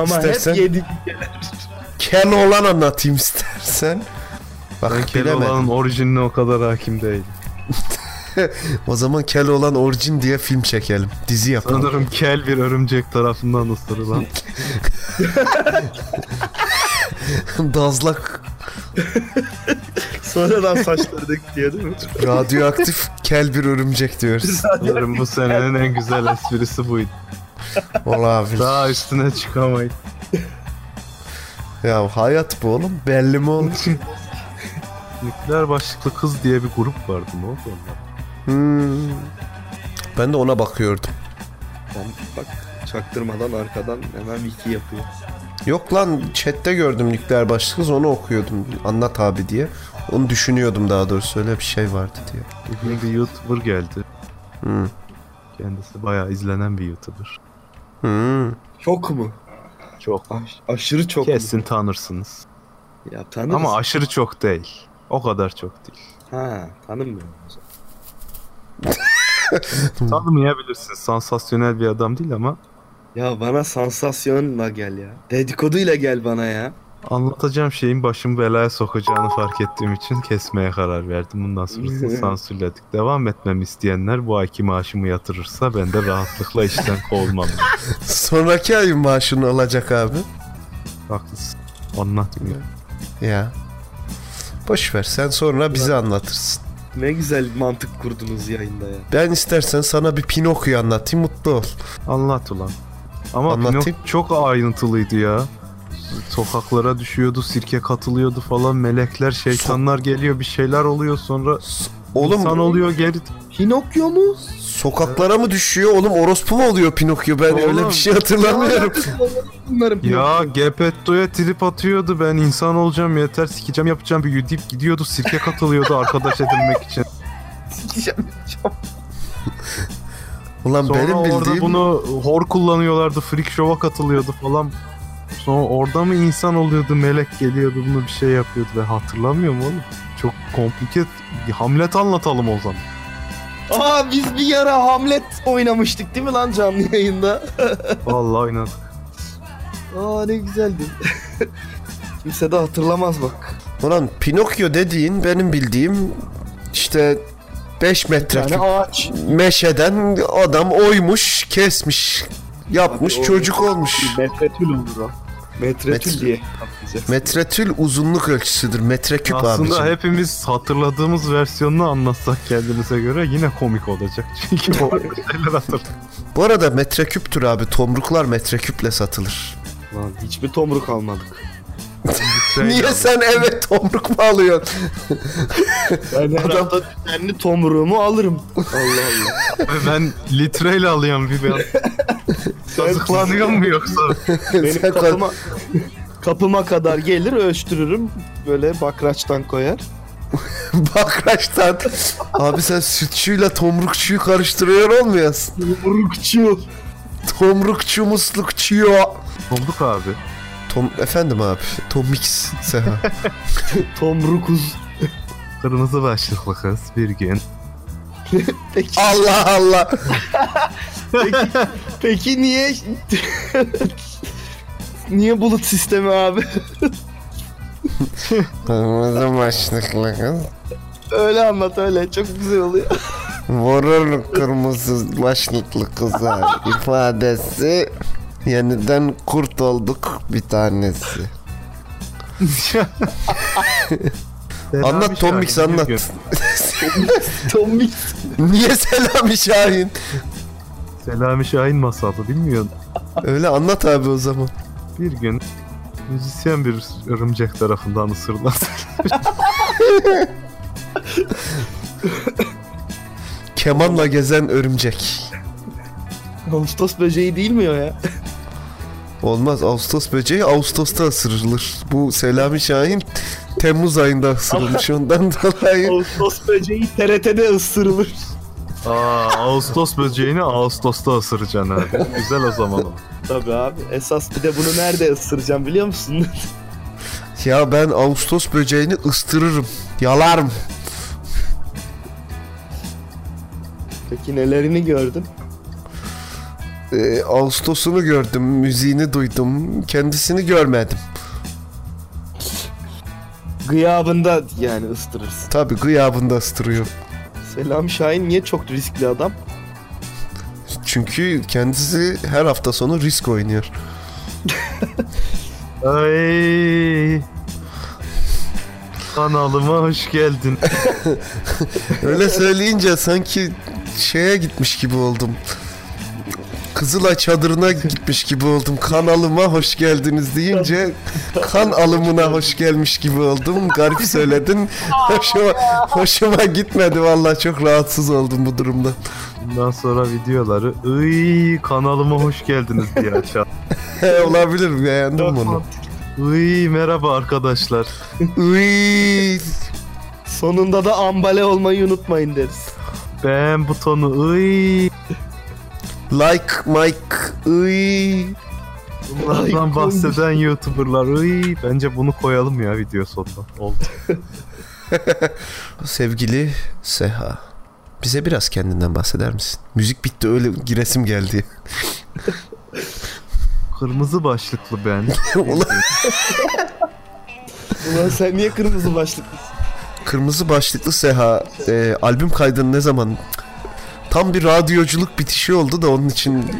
S3: Ama
S2: İstersen-
S3: hep yedi
S2: Keloğlan anlatayım istersen. Bak
S1: Ben
S2: bilemedim.
S1: Keloğlan'ın orijinine o kadar hakim değilim.
S2: O zaman Keloğlan orijin diye film çekelim. Dizi yapalım.
S1: Sanırım kel bir örümcek tarafından ısırılan.
S2: Dazlak
S3: sonradan saçları dök diye değil mi?
S2: radyoaktif kel bir örümcek diyoruz.
S1: Sanırım bu senenin en güzel esprisi buydu.
S2: Olabilir.
S1: Daha üstüne çıkamayız.
S2: Ya hayat bu oğlum. Belli mi oğlum?
S1: Nükleer başlıklı kız diye bir grup vardı ne oldu onlar?
S2: Hmm. Ben de ona bakıyordum.
S3: Tam bak çaktırmadan arkadan hemen wiki yapıyor.
S2: Yok lan chatte gördüm nükleer başlık kız onu okuyordum. Anlat abi diye. Onu düşünüyordum daha doğrusu öyle bir şey vardı diye.
S1: Bugün bir YouTuber geldi.
S2: Hmm.
S1: Kendisi bayağı izlenen bir YouTuber.
S2: Hmm.
S3: Çok mu?
S1: Çok.
S3: Aş- aşırı çok
S1: Kesin tanırsınız.
S3: mu? Ya tanırız.
S1: Ama aşırı çok değil. O kadar çok değil.
S3: ha tanımıyorum. o zaman.
S1: Tanımayabilirsin. Sansasyonel bir adam değil ama
S3: Ya bana sansasyonla gel ya. Dedikoduyla gel bana ya.
S1: anlatacağım şeyin başımı belaya sokacağını fark ettiğim için kesmeye karar verdim. Bundan sonrasını sansürledik. Devam etmemi isteyenler bu ayki maaşımı yatırırsa ben de rahatlıkla işten kovulmam.
S2: Sonraki ayın maaşını alacak abi.
S1: Haklısın. Anlatmıyor.
S2: Ya. Boş ver sen sonra bize anlatırsın.
S3: Ne güzel mantık kurdunuz yayında ya.
S2: Ben istersen sana bir Pinokyo anlatayım mutlu ol.
S1: Anlat ulan. Ama
S2: Anlatayım.
S1: Pinok çok ayrıntılıydı ya. Sokaklara düşüyordu, sirke katılıyordu falan. Melekler, şeytanlar geliyor, bir şeyler oluyor sonra
S2: Oğlum
S1: insan oluyor geri.
S3: Pinokyo mu?
S2: sokaklara mı düşüyor oğlum orospu mu oluyor Pinokyo ben öyle
S1: Oğlum.
S2: bir şey hatırlamıyorum.
S3: Bunların
S1: Ya Gepetto'ya trip atıyordu ben insan olacağım yeter sikeceğim yapacağım bir deyip gidiyordu sirke katılıyordu arkadaş edinmek için.
S3: sikeceğim.
S2: Ulan
S1: Sonra
S2: benim
S1: orada
S2: bildiğim
S1: bunu hor kullanıyorlardı freak show'a katılıyordu falan. Sonra orada mı insan oluyordu melek geliyordu bunu bir şey yapıyordu ve hatırlamıyorum oğlum. Çok komplike bir Hamlet anlatalım o zaman.
S3: Aa biz bir yara Hamlet oynamıştık değil mi lan canlı yayında?
S1: Vallahi oynadı.
S3: Aa ne güzeldi. Kimse de hatırlamaz bak.
S2: Ulan Pinokyo dediğin benim bildiğim işte 5 metreküp
S3: ağaç.
S2: meşeden adam oymuş, kesmiş, yapmış,
S3: Abi o-
S2: çocuk olmuş.
S3: Metretül olur o. Metretül
S2: Metretül.
S3: diye. yapacağız.
S2: Metretül uzunluk ölçüsüdür. Metreküp
S1: Aslında
S2: abicim.
S1: hepimiz hatırladığımız versiyonunu anlatsak kendimize göre yine komik olacak. Çünkü o şeyler hatırlıyor.
S2: Bu arada metreküptür abi. Tomruklar metreküple satılır.
S3: Lan hiçbir tomruk almadık.
S2: Niye
S1: Şey
S2: sen eve tomruk mu alıyorsun?
S3: Ben her
S2: Adam-
S3: hafta düzenli tomruğumu alırım. Allah Allah.
S1: Ben litreyle alıyorum bir ben. Kazıklanıyor mu yoksa?
S3: Benim
S2: Sen kal-
S3: kapıma, kapıma kadar gelir ölçtürürüm. Böyle bakraçtan koyar.
S2: Bakraçtan. Abi sen sütçüyle tomrukçuyu karıştırıyor olmayasın.
S3: Tomrukçu.
S2: Tomrukçu muslukçu.
S1: Olduk abi.
S2: Tom efendim abi. Tomix Seha.
S3: Tomrukuz.
S1: Kırmızı başlıklı kız bir gün.
S3: Peki,
S2: Allah Allah.
S3: peki niye... niye bulut sistemi abi?
S2: Kırmızı başlıklı kız.
S3: Öyle anlat öyle. Çok güzel oluyor.
S2: Vurur kırmızı başlıklı kıza ifadesi yeniden kurt olduk bir tanesi.
S1: Selami
S2: Anlat Tom Mix,
S1: Şahin bir
S2: anlat.
S1: gün-
S3: Tom Mix.
S2: Niye Selami Şahin?
S1: Selami Şahin masalı bilmiyorum.
S2: Öyle anlat abi o zaman.
S1: Bir gün müzisyen bir örümcek tarafından ısırılan
S2: Kemanla gezen örümcek.
S3: Ağustos böceği değil mi o ya?
S2: Olmaz Ağustos böceği Ağustos'ta ısırılır. Bu Selami Şahin Temmuz ayında ısırılmış ondan dolayı.
S3: Ağustos böceği TRT'de ısırılır.
S1: Aa, Ağustos böceğini Ağustos'ta ısıracaksın abi. Güzel o zaman. o.
S3: Tabii abi. Esas bir de bunu nerede ısıracağım biliyor musun?
S2: Ya ben Ağustos böceğini ıstırırım. Yalarım.
S3: Peki nelerini gördün?
S2: Ee, Ağustos'unu gördüm, müziğini duydum. Kendisini görmedim.
S3: Gıyabında yani ıstırırsın.
S2: Tabii gıyabında ıstırıyor.
S3: Selam Şahin niye çok riskli adam?
S2: Çünkü kendisi her hafta sonu risk oynuyor.
S1: Ay. Kanalıma hoş geldin.
S2: Öyle söyleyince sanki şeye gitmiş gibi oldum. Kızılay çadırına gitmiş gibi oldum. Kanalıma hoş geldiniz deyince kan alımına hoş gelmiş gibi oldum. Garip söyledin. Hoşuma, hoşuma gitmedi vallahi çok rahatsız oldum bu durumda.
S1: Bundan sonra videoları Iy kanalıma hoş geldiniz diye açar.
S2: He, olabilir beğendim bunu.
S1: Iy merhaba arkadaşlar.
S2: Uy,
S3: Sonunda da ambale olmayı unutmayın deriz.
S1: Beğen butonu Iy
S2: like Mike uy.
S1: bunlardan bahseden youtuberlar Iy bence bunu koyalım ya video sonuna. Oldu.
S2: Sevgili Seha. Bize biraz kendinden bahseder misin? Müzik bitti öyle giresim geldi.
S1: Kırmızı başlıklı ben.
S2: Ulan
S3: Ulan sen niye kırmızı başlıklısın?
S2: Kırmızı başlıklı Seha e, albüm kaydını ne zaman? Tam bir radyoculuk bitişi oldu da onun için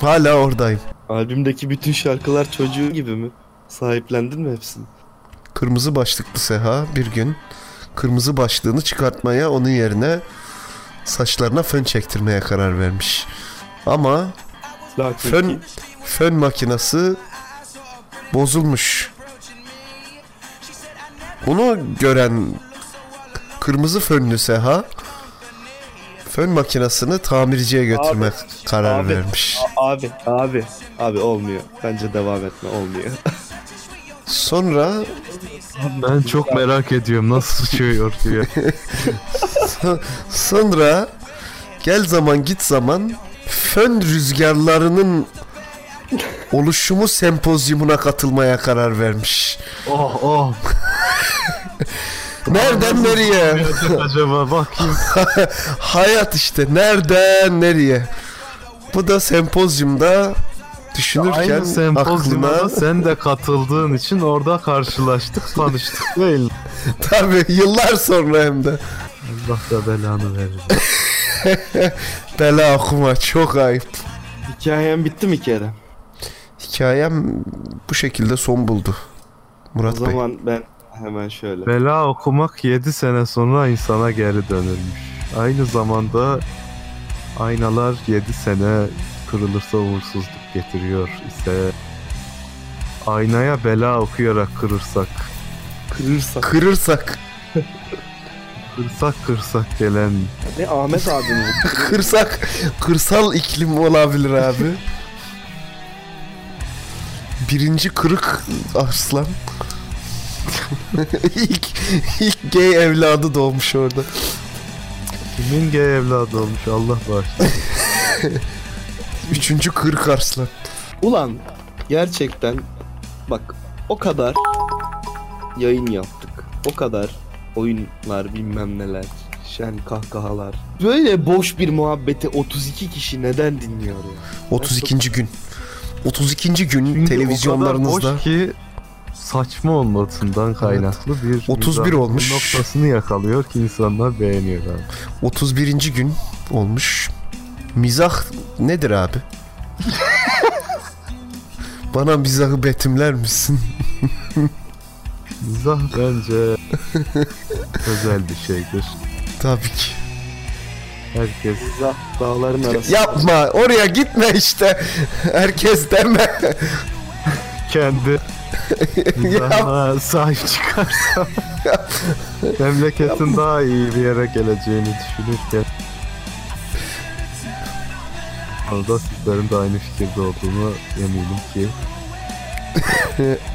S2: hala oradayım.
S3: Albümdeki bütün şarkılar çocuğu gibi mi? Sahiplendin mi hepsini?
S2: Kırmızı başlıklı Seha bir gün kırmızı başlığını çıkartmaya onun yerine saçlarına fön çektirmeye karar vermiş. Ama
S3: Lakin
S2: fön fön makinesi bozulmuş. Bunu gören kırmızı fönlü Seha fön makinesini tamirciye götürme
S3: Abi,
S2: karar
S3: abi.
S2: vermiş.
S3: Abi, abi, abi olmuyor. Bence devam etme olmuyor.
S2: Sonra
S1: Ben çok merak ediyorum nasıl sıçıyor diye.
S2: sonra gel zaman git zaman fön rüzgarlarının oluşumu sempozyumuna katılmaya karar vermiş.
S1: Oh oh.
S2: Nereden nereye?
S1: Acaba bakayım.
S2: Hayat işte nereden nereye. Bu da sempozyumda düşünürken
S1: Aynı sempozyuma
S2: aklına
S1: da sen de katıldığın için orada karşılaştık, tanıştık değil. mi?
S2: tabii yıllar sonra hem de
S1: Allah da belanı verir.
S2: bela okuma çok ayıp.
S3: Hikayem bitti mi Kerem?
S2: Hikayem bu şekilde son buldu.
S3: O
S2: Murat Bey.
S3: zaman ben hemen şöyle.
S1: Bela okumak 7 sene sonra insana geri dönülmüş. Aynı zamanda aynalar 7 sene kırılırsa uğursuzluk getiriyor ise aynaya bela okuyarak kırırsak
S3: Kırırsak.
S2: Kırırsak,
S1: kırsak kırsak gelen
S3: Ne Ahmet abi mi? bu?
S2: kırsak, kırsal iklim olabilir abi. Birinci kırık arslan. ilk, ilk gay evladı doğmuş orada.
S1: kimin gay evladı olmuş Allah bağışlasın.
S2: Üçüncü kırık arslan.
S3: Ulan gerçekten bak o kadar yayın yaptık. O kadar oyunlar bilmem neler. Şen kahkahalar. Böyle boş bir muhabbeti 32 kişi neden dinliyor ya?
S2: 32. gün. 32. gün
S1: Çünkü o kadar
S2: televizyonlarınızda
S1: boş ki saçma olmasından kaynaklı bir
S2: 31
S1: mizahın
S2: olmuş.
S1: noktasını yakalıyor ki insanlar beğeniyor abi.
S2: 31. gün olmuş. Mizah nedir abi? Bana mizahı betimler misin?
S1: Mizah bence özel bir şeydir.
S2: Tabii ki.
S1: Herkes
S3: Zah dağların arası.
S2: Yapma oraya gitme işte. Herkes deme.
S1: kendi mizahına sahip çıkarsa memleketin daha iyi bir yere geleceğini düşünürken Orada sizlerin de aynı fikirde olduğunu eminim ki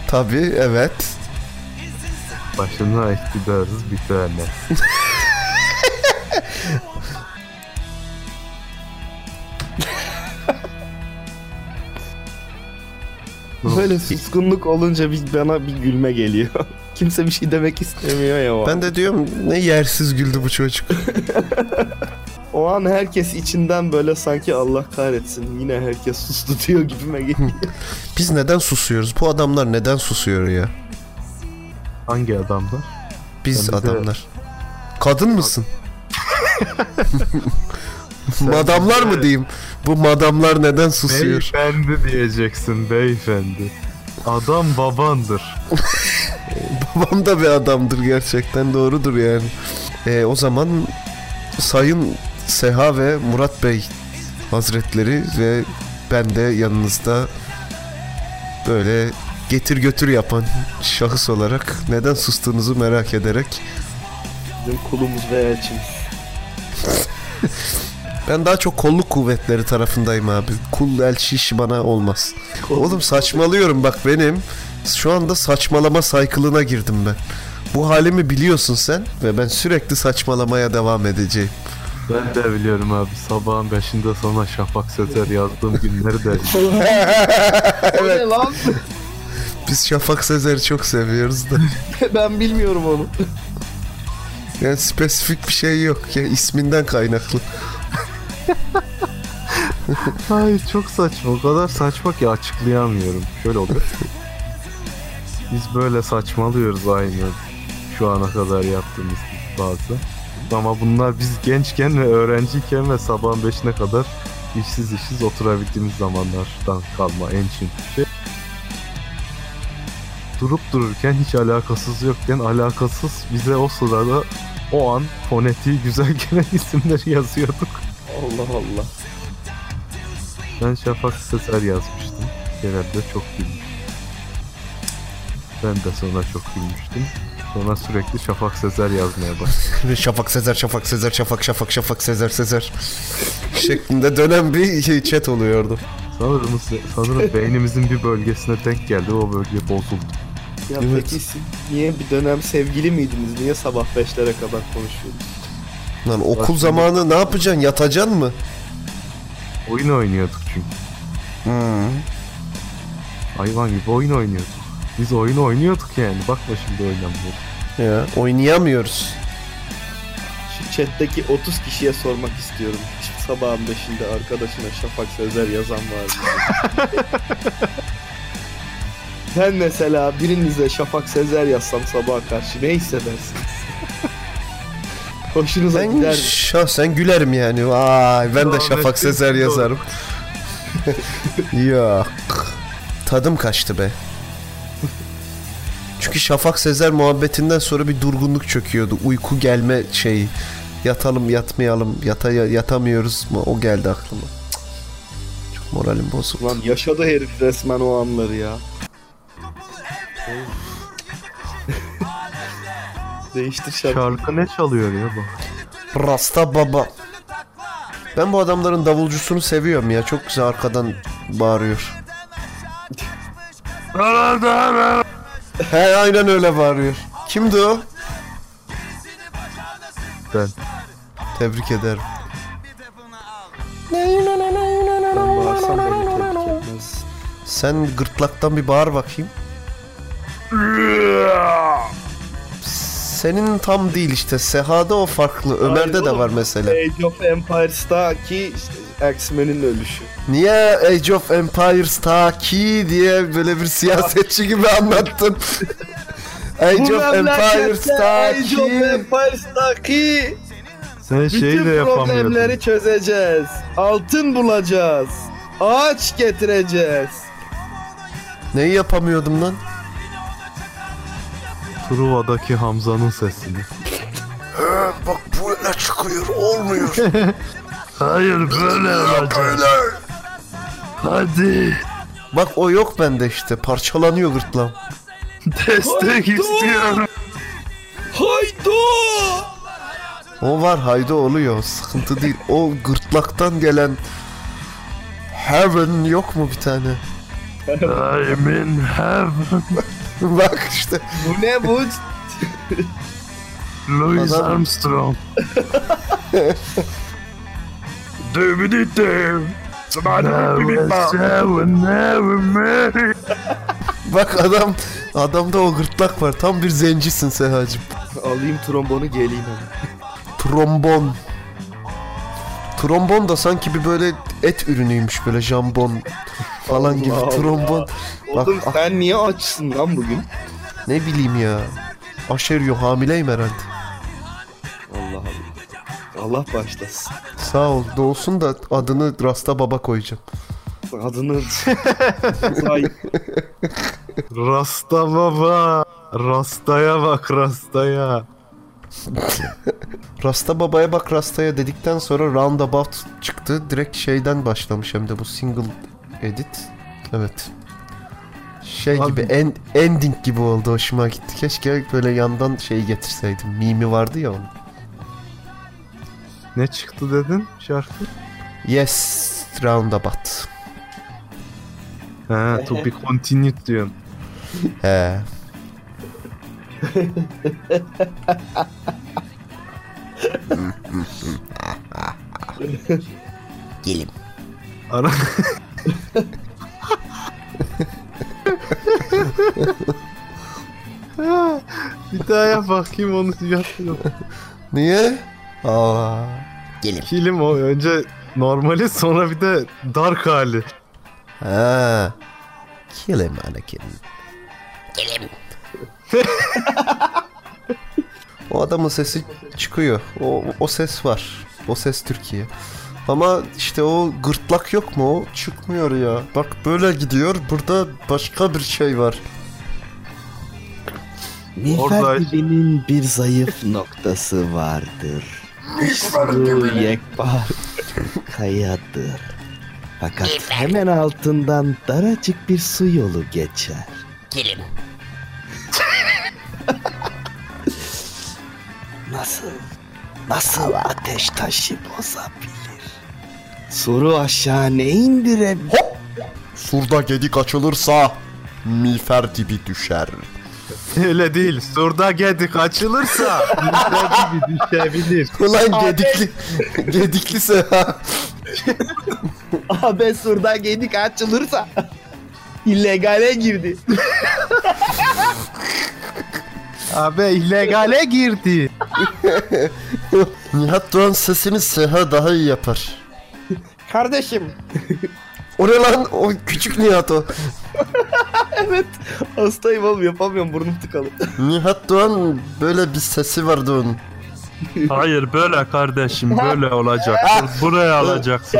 S2: Tabii evet.
S1: başına iktidarız bir tane.
S3: Böyle suskunluk olunca bir, bana bir gülme geliyor. Kimse bir şey demek istemiyor ya o an.
S2: Ben de diyorum ne yersiz güldü bu çocuk.
S3: O an herkes içinden böyle sanki Allah kahretsin yine herkes sustu diyor gibime geliyor.
S2: Biz neden susuyoruz? Bu adamlar neden susuyor ya?
S1: Hangi adamlar?
S2: Biz
S1: Ben bir de-
S2: adamlar. Kadın mısın? madamlar
S1: bize-
S2: mı diyeyim? Bu madamlar neden susuyor?
S1: Beyefendi diyeceksin beyefendi. Adam babandır.
S2: Babam da bir adamdır gerçekten doğrudur yani. Ee, o zaman Sayın Seha ve Murat Bey Hazretleri ve ben de yanınızda böyle getir götür yapan şahıs olarak neden sustuğunuzu merak ederek
S3: Bizim kulumuz ve elçimiz.
S2: ben daha çok kolluk kuvvetleri tarafındayım abi. Kul elçi işi bana olmaz. Oğlum saçmalıyorum bak benim. Şu anda saçmalama saykılına girdim ben. Bu halimi biliyorsun sen ve ben sürekli saçmalamaya devam edeceğim.
S1: Ben de biliyorum abi sabahın beşinde sana şafak sezer yazdığım günleri de
S3: O ne lan?
S2: Biz Şafak Sezer'i çok seviyoruz da.
S3: ben bilmiyorum onu.
S2: Yani spesifik bir şey yok ya isminden kaynaklı.
S1: Hayır çok saçma. O kadar saçma ki açıklayamıyorum. Şöyle oluyor. Biz böyle saçmalıyoruz aynı şu ana kadar yaptığımız bazı. Ama bunlar biz gençken ve öğrenciyken ve sabahın 5'ine kadar işsiz işsiz oturabildiğimiz zamanlardan kalma en çirkin şey. Durup dururken hiç alakasız yokken alakasız bize o sırada o an fonetiği güzel gelen isimleri yazıyorduk.
S3: Allah Allah.
S1: Ben Şafak Sezer yazmıştım. Genelde çok gülmüş. Ben de sonra çok gülmüştüm. Sonra sürekli Şafak Sezer yazmaya başladım.
S2: Şafak Sezer, Şafak Sezer, Şafak Şafak Şafak Sezer Sezer şeklinde dönen bir şey, chat oluyordu.
S1: Sanırım, sanırım beynimizin bir bölgesine denk geldi. O bölge bozuldu.
S3: Ya
S2: Evet.
S3: peki siz niye bir dönem sevgili miydiniz? Niye sabah 5'lere kadar konuşuyordunuz?
S2: Lan okul zamanı ne yapacaksın? Yatacaksın mı?
S1: Oyun oynuyorduk çünkü. Hayvan gibi oyun oynuyorduk. Biz oyun oynuyorduk yani. Bakma şimdi oynamıyoruz.
S2: Ya oynayamıyoruz.
S3: Şu chatteki 30 kişiye sormak istiyorum. Hiç sabahın 5'inde arkadaşına Şafak Sezer yazan var mı? ben mesela birinize Şafak Sezer yazsam sabaha karşı ne hissedersiniz? Hoşunuza
S2: Ben
S3: gider mi?
S2: şahsen gülerim yani. Vay ben de
S1: Ahmet
S2: Şafak
S1: Bey,
S2: Sezer
S1: doğru.
S2: yazarım. Yok. Tadım kaçtı be. Çünkü Şafak Sezer muhabbetinden sonra bir durgunluk çöküyordu. Uyku gelme şeyi. Yatalım yatmayalım yata yatamıyoruz mu o geldi aklıma. Cık. Çok moralim bozuldu.
S3: Lan yaşadı herif resmen o anları ya. Değiştir şarkı.
S1: Şarkı ne çalıyor ya bak.
S2: Rasta baba. Ben bu adamların davulcusunu seviyorum ya. Çok güzel arkadan bağırıyor. He aynen öyle bağırıyor. Kimdi o?
S1: Ben.
S2: Tebrik ederim.
S3: Ben bağırsam beni tebrik etmez.
S2: Sen gırtlaktan bir bağır bakayım. Senin tam değil işte. Seha'da o farklı. Ömer'de
S3: Hayır
S2: de
S3: oğlum.
S2: var mesela.
S3: Age of Empires'taki işte X-Men'in ölüşü.
S2: Niye Age of Empires ta ki diye böyle bir siyasetçi gibi anlattın? Age of Empires ta
S3: Age of
S2: ki.
S3: Empires'taki
S1: Sen şeyi de
S3: bütün
S1: yapamıyordun.
S3: problemleri çözeceğiz. Altın bulacağız. Ağaç getireceğiz.
S2: Neyi yapamıyordum lan?
S1: Truva'daki Hamza'nın sesini.
S2: Bak böyle çıkıyor olmuyor.
S1: Hayır böyle olacak. Hadi
S2: Bak o yok bende işte parçalanıyor gırtlağım.
S1: destek istiyorum.
S3: Haydo!
S2: O var haydi oluyor sıkıntı değil. O gırtlaktan gelen Heaven yok mu bir tane?
S1: I'm in heaven.
S2: Bak işte
S3: Bu ne bu?
S1: Louis
S2: Adam-
S1: Armstrong. Dövünü döv. Never, never marry.
S2: bak adam adamda o gırtlak var. Tam bir zencisin Sehacım.
S3: Alayım trombonu geleyim hemen.
S2: Trombon. Trombon da sanki bir böyle et ürünüymüş böyle jambon falan gibi
S3: Allah Allah.
S2: trombon. Bak
S3: Oğlum
S2: ah,
S3: sen niye açsın lan bugün?
S2: ne bileyim ya. Aşeriyor hamileyim herhalde.
S3: Allah Allah. Allah başlasın.
S2: Sağ ol. Doğsun da adını Rasta Baba koyacağım.
S3: Adını... Say.
S1: Rasta baba. Rastaya bak rastaya.
S2: Rasta Baba'ya bak Rasta'ya dedikten sonra Roundabout çıktı. Direkt şeyden başlamış hem de bu single edit. Evet. Şey
S1: Abi-
S2: gibi en, ending gibi oldu hoşuma gitti. Keşke böyle yandan şeyi getirseydim. Mimi vardı ya onun.
S1: Ne çıktı dedin şarkı?
S2: Yes Roundabout.
S1: He to be continued diyorsun.
S2: He.
S1: Ara... Ha, bir daha yap bakayım onu yapıyorum.
S2: Niye? Aa.
S1: Kilim o önce normali sonra bir de dark hali.
S2: Ha. Kill him Anakin. Kill him. o adamın sesi çıkıyor. O, o ses var. O ses Türkiye. Ama işte o gırtlak yok mu? O çıkmıyor ya. Bak böyle gidiyor. Burada başka bir şey var.
S1: Orada-
S3: Mihverdibi'nin bir zayıf noktası vardır. Bu yekpar kayadır. Fakat hemen altından daracık bir su yolu geçer.
S4: Gelin.
S3: Nasıl? Nasıl ateş taşı bozabilir? Soru aşağı ne indirebilir?
S2: Surda gedik açılırsa miğfer dibi düşer.
S1: Öyle değil. Surda gedik açılırsa düşer gibi düşebilir.
S2: Ulan gedikli, gediklise ha.
S3: Abi surda gedik açılırsa illegale girdi.
S1: Abi illegale girdi.
S2: Nihat Doğan sesini Seha daha iyi yapar.
S3: Kardeşim
S2: O ne lan? O küçük Nihat o.
S3: evet hastayım oğlum yapamıyorum burnum tıkalı.
S2: Nihat Doğan böyle bir sesi vardı onun.
S1: Hayır böyle kardeşim böyle olacak. Buraya alacaksın.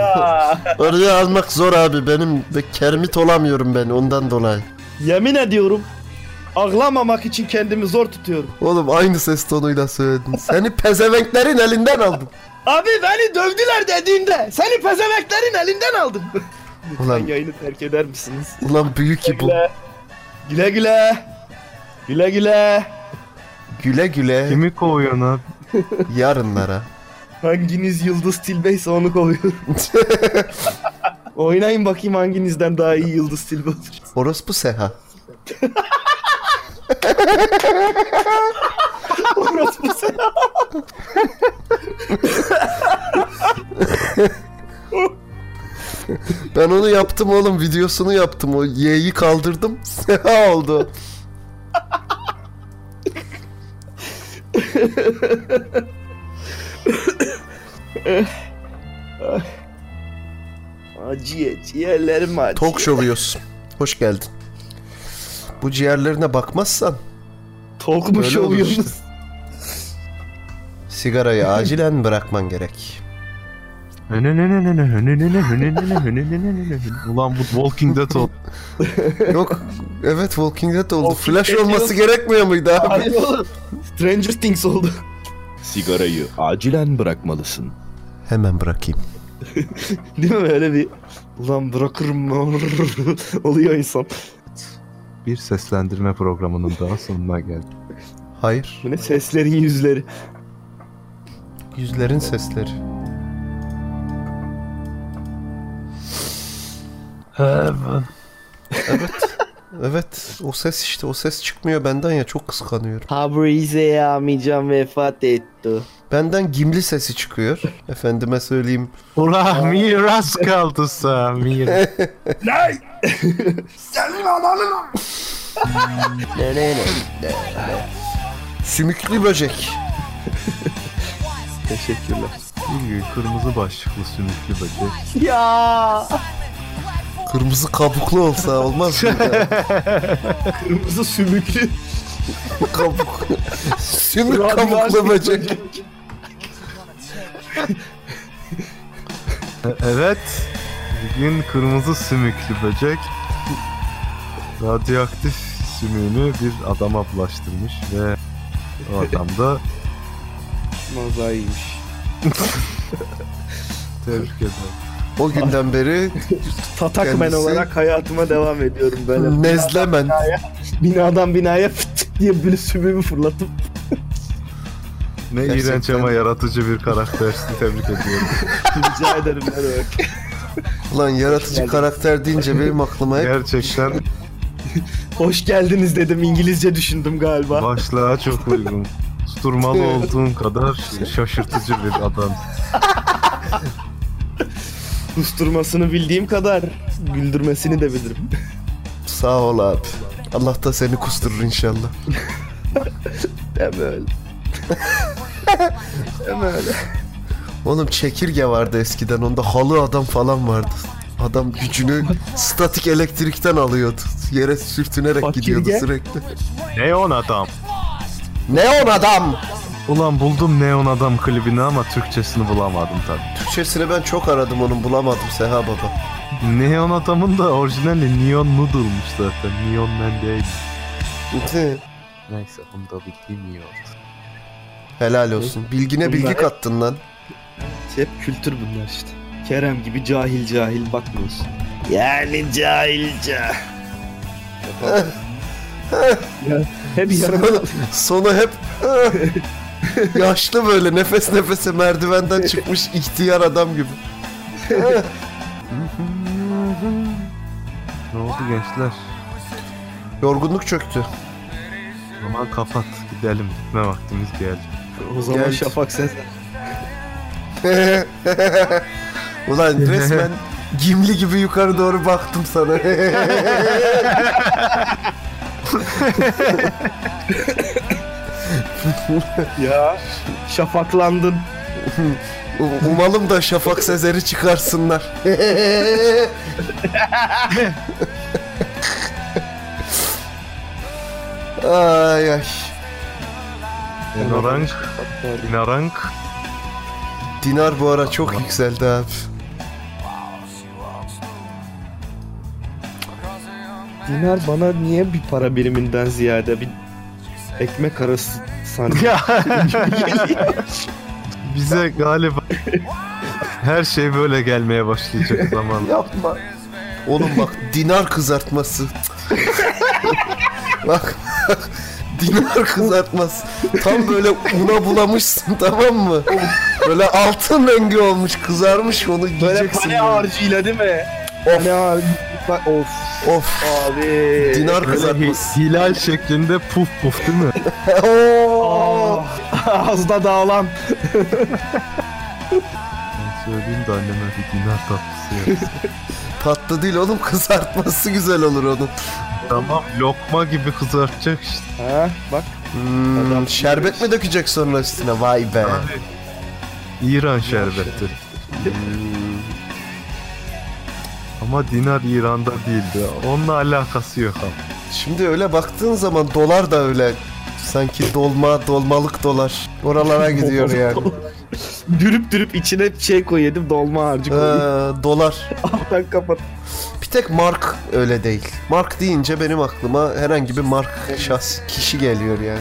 S2: Oraya almak zor abi benim ve kermit olamıyorum ben ondan dolayı.
S3: Yemin ediyorum ağlamamak için kendimi zor tutuyorum.
S2: Oğlum aynı ses tonuyla söyledin. Seni pezevenklerin elinden aldım.
S3: Abi beni dövdüler dediğinde seni pezemeklerin elinden aldım.
S2: Ulan,
S3: Yayını terk eder misiniz?
S2: ulan büyük ki bu.
S3: Güle güle. Güle güle.
S2: Güle güle
S1: Kimi kovuyorsun abi?
S2: yarınlara.
S3: Hanginiz Yıldız Tilbe'yse onu kovuyorum. Oynayın bakayım hanginizden daha iyi Yıldız Tilbe olur.
S2: Orospu Seha.
S3: Orospu sen.
S2: Ben onu yaptım oğlum videosunu yaptım. O Y'yi kaldırdım Seha oldu.
S3: Acıya ciğerlerim acı.
S2: Talk show'uyuz. Hoş geldin. Bu ciğerlerine bakmazsan
S3: Talk
S2: Öyle
S3: mu
S2: olur
S3: şovuyorsunuz?
S2: işte. sigarayı acilen bırakman gerek.
S1: Ulan bu Walking Dead ol.
S2: Yok evet Walking Dead oldu.
S3: Walking
S2: Flash
S3: Dead
S2: olması gerekmiyor muydu abi?
S3: Hayır oğlum. Stranger Things oldu.
S4: Sigarayı acilen bırakmalısın.
S2: Hemen bırakayım.
S3: Değil mi öyle bir ulan bırakırım oluyor insan.
S1: Bir seslendirme programının daha sonuna geldik.
S2: Hayır.
S3: Bu ne seslerin yüzleri.
S2: Yüzlerin sesleri. Evet. Evet. O ses işte. O ses çıkmıyor benden ya. Çok kıskanıyorum.
S3: Tabrize amicam vefat etti.
S2: Benden gimli sesi çıkıyor. Efendime söyleyeyim.
S1: Ulan miras kaldı Samir.
S2: Ne ne ne. Sümüklü böcek.
S3: Teşekkürler.
S1: Bir gün kırmızı başlıklı sümüklü böcek.
S3: Ya
S2: Kırmızı kabuklu olsa olmaz mı? ya?
S3: kırmızı sümüklü.
S2: Kabuk. Sümük kabuklu böcek.
S1: E- Evet. Bugün kırmızı sümüklü böcek radyoaktif sümüğünü bir adama bulaştırmış ve o adam da
S3: Mazaymış.
S1: tebrik eder.
S2: O günden beri
S3: Tatakmen
S2: Kendisi-
S3: olarak hayatıma devam ediyorum böyle.
S2: nezlemen.
S3: Binadan binaya fıtık diye bir sümüğümü fırlatıp
S1: Ne
S2: Gerçekten.
S1: iğrenç ama yaratıcı bir karaktersin tebrik ediyorum.
S3: rica ederim ne demek.
S2: Lan yaratıcı karakter deyince benim aklıma hep
S1: Gerçekten
S3: Hoş geldiniz dedim İngilizce düşündüm galiba.
S1: başlığa çok uygun. Susturmalı olduğun kadar şaşırtıcı bir adam.
S3: Kusturmasını bildiğim kadar güldürmesini de bilirim.
S2: sağ ol abi. Allah da seni kusturur inşallah.
S3: Deme öyle. Deme öyle.
S2: Oğlum çekirge vardı eskiden onda halı adam falan vardı. Adam gücünü statik elektrikten alıyordu. Yere sürtünerek
S3: Fakirge.
S2: gidiyordu sürekli.
S1: Neon adam.
S2: Neon adam!
S1: Ulan buldum Neon Adam klibini ama Türkçesini bulamadım tabii.
S2: Türkçesini ben çok aradım onun bulamadım Seha Baba.
S1: Neon Adam'ın da orijinali Neon Noodle'mış zaten. Neon Man değil.
S2: Tüh,
S1: Neyse onu da bildiğim iyi oldu.
S2: Helal olsun. Bilgine
S3: Bunlar
S2: bilgi
S3: hep-
S2: kattın lan.
S3: Hep kültür bunlar işte. Kerem gibi cahil cahil bakmıyorsun. Yani cahilce. ya, hep
S2: Sonu, sonu hep yaşlı böyle nefes nefese merdivenden çıkmış ihtiyar adam gibi.
S1: Ne oldu gençler?
S2: Yorgunluk çöktü.
S1: O zaman kapat gidelim. Gitme vaktimiz geldi.
S3: O zaman
S2: Geldi.
S3: Şafak Sezer.
S2: Ulan resmen gimli gibi yukarı doğru baktım sana.
S3: Ya şafaklandın.
S2: U- Umalım da Şafak Sezer'i çıkarsınlar. ay ay.
S1: Enorank, Inarank.
S2: Dinar bu ara çok yükseldi abi.
S3: Dinar bana niye bir para biriminden ziyade bir ekmek arası sanki.
S1: Ya. Bize galiba her şey böyle gelmeye başlayacak zamanla.
S2: Yapma. Oğlum bak dinar kızartması. bak dinar kızartması. Tam böyle una bulamışsın tamam mı? Böyle altın rengi olmuş kızarmış onu
S3: Böyle
S2: giyeceksin.
S3: pane harcıyla değil mi? Pane harcı. Bak, Of
S2: Of
S3: abi.
S2: dinar
S1: Böyle hi-
S2: kızartması.
S1: hilal şeklinde puf puf değil mi?
S2: Oo.
S3: Oh, Ağızda dağılan.
S1: Ben söyleyeyim de anneme bir dinar tatlısı yapsın.
S2: Tatlı değil oğlum kızartması güzel olur onun.
S1: tamam lokma gibi kızartacak işte.
S3: Ha bak.
S2: Hmm,
S3: Adam-
S2: şerbet mi dökecek sonra üstüne? Vay be. Hmm.
S1: Abi, İran şerbeti. Ama dinar İran'da değildi. Onunla alakası yok abi.
S2: Şimdi öyle baktığın zaman dolar da öyle sanki dolma dolmalık dolar oralara gidiyor yani.
S3: dürüp dürüp içine şey koy yedim dolma harcı
S2: Ee,
S3: koyayım.
S2: dolar.
S3: Alttan kapat.
S2: Bir tek mark öyle değil. Mark deyince benim aklıma herhangi bir mark şahs kişi geliyor yani.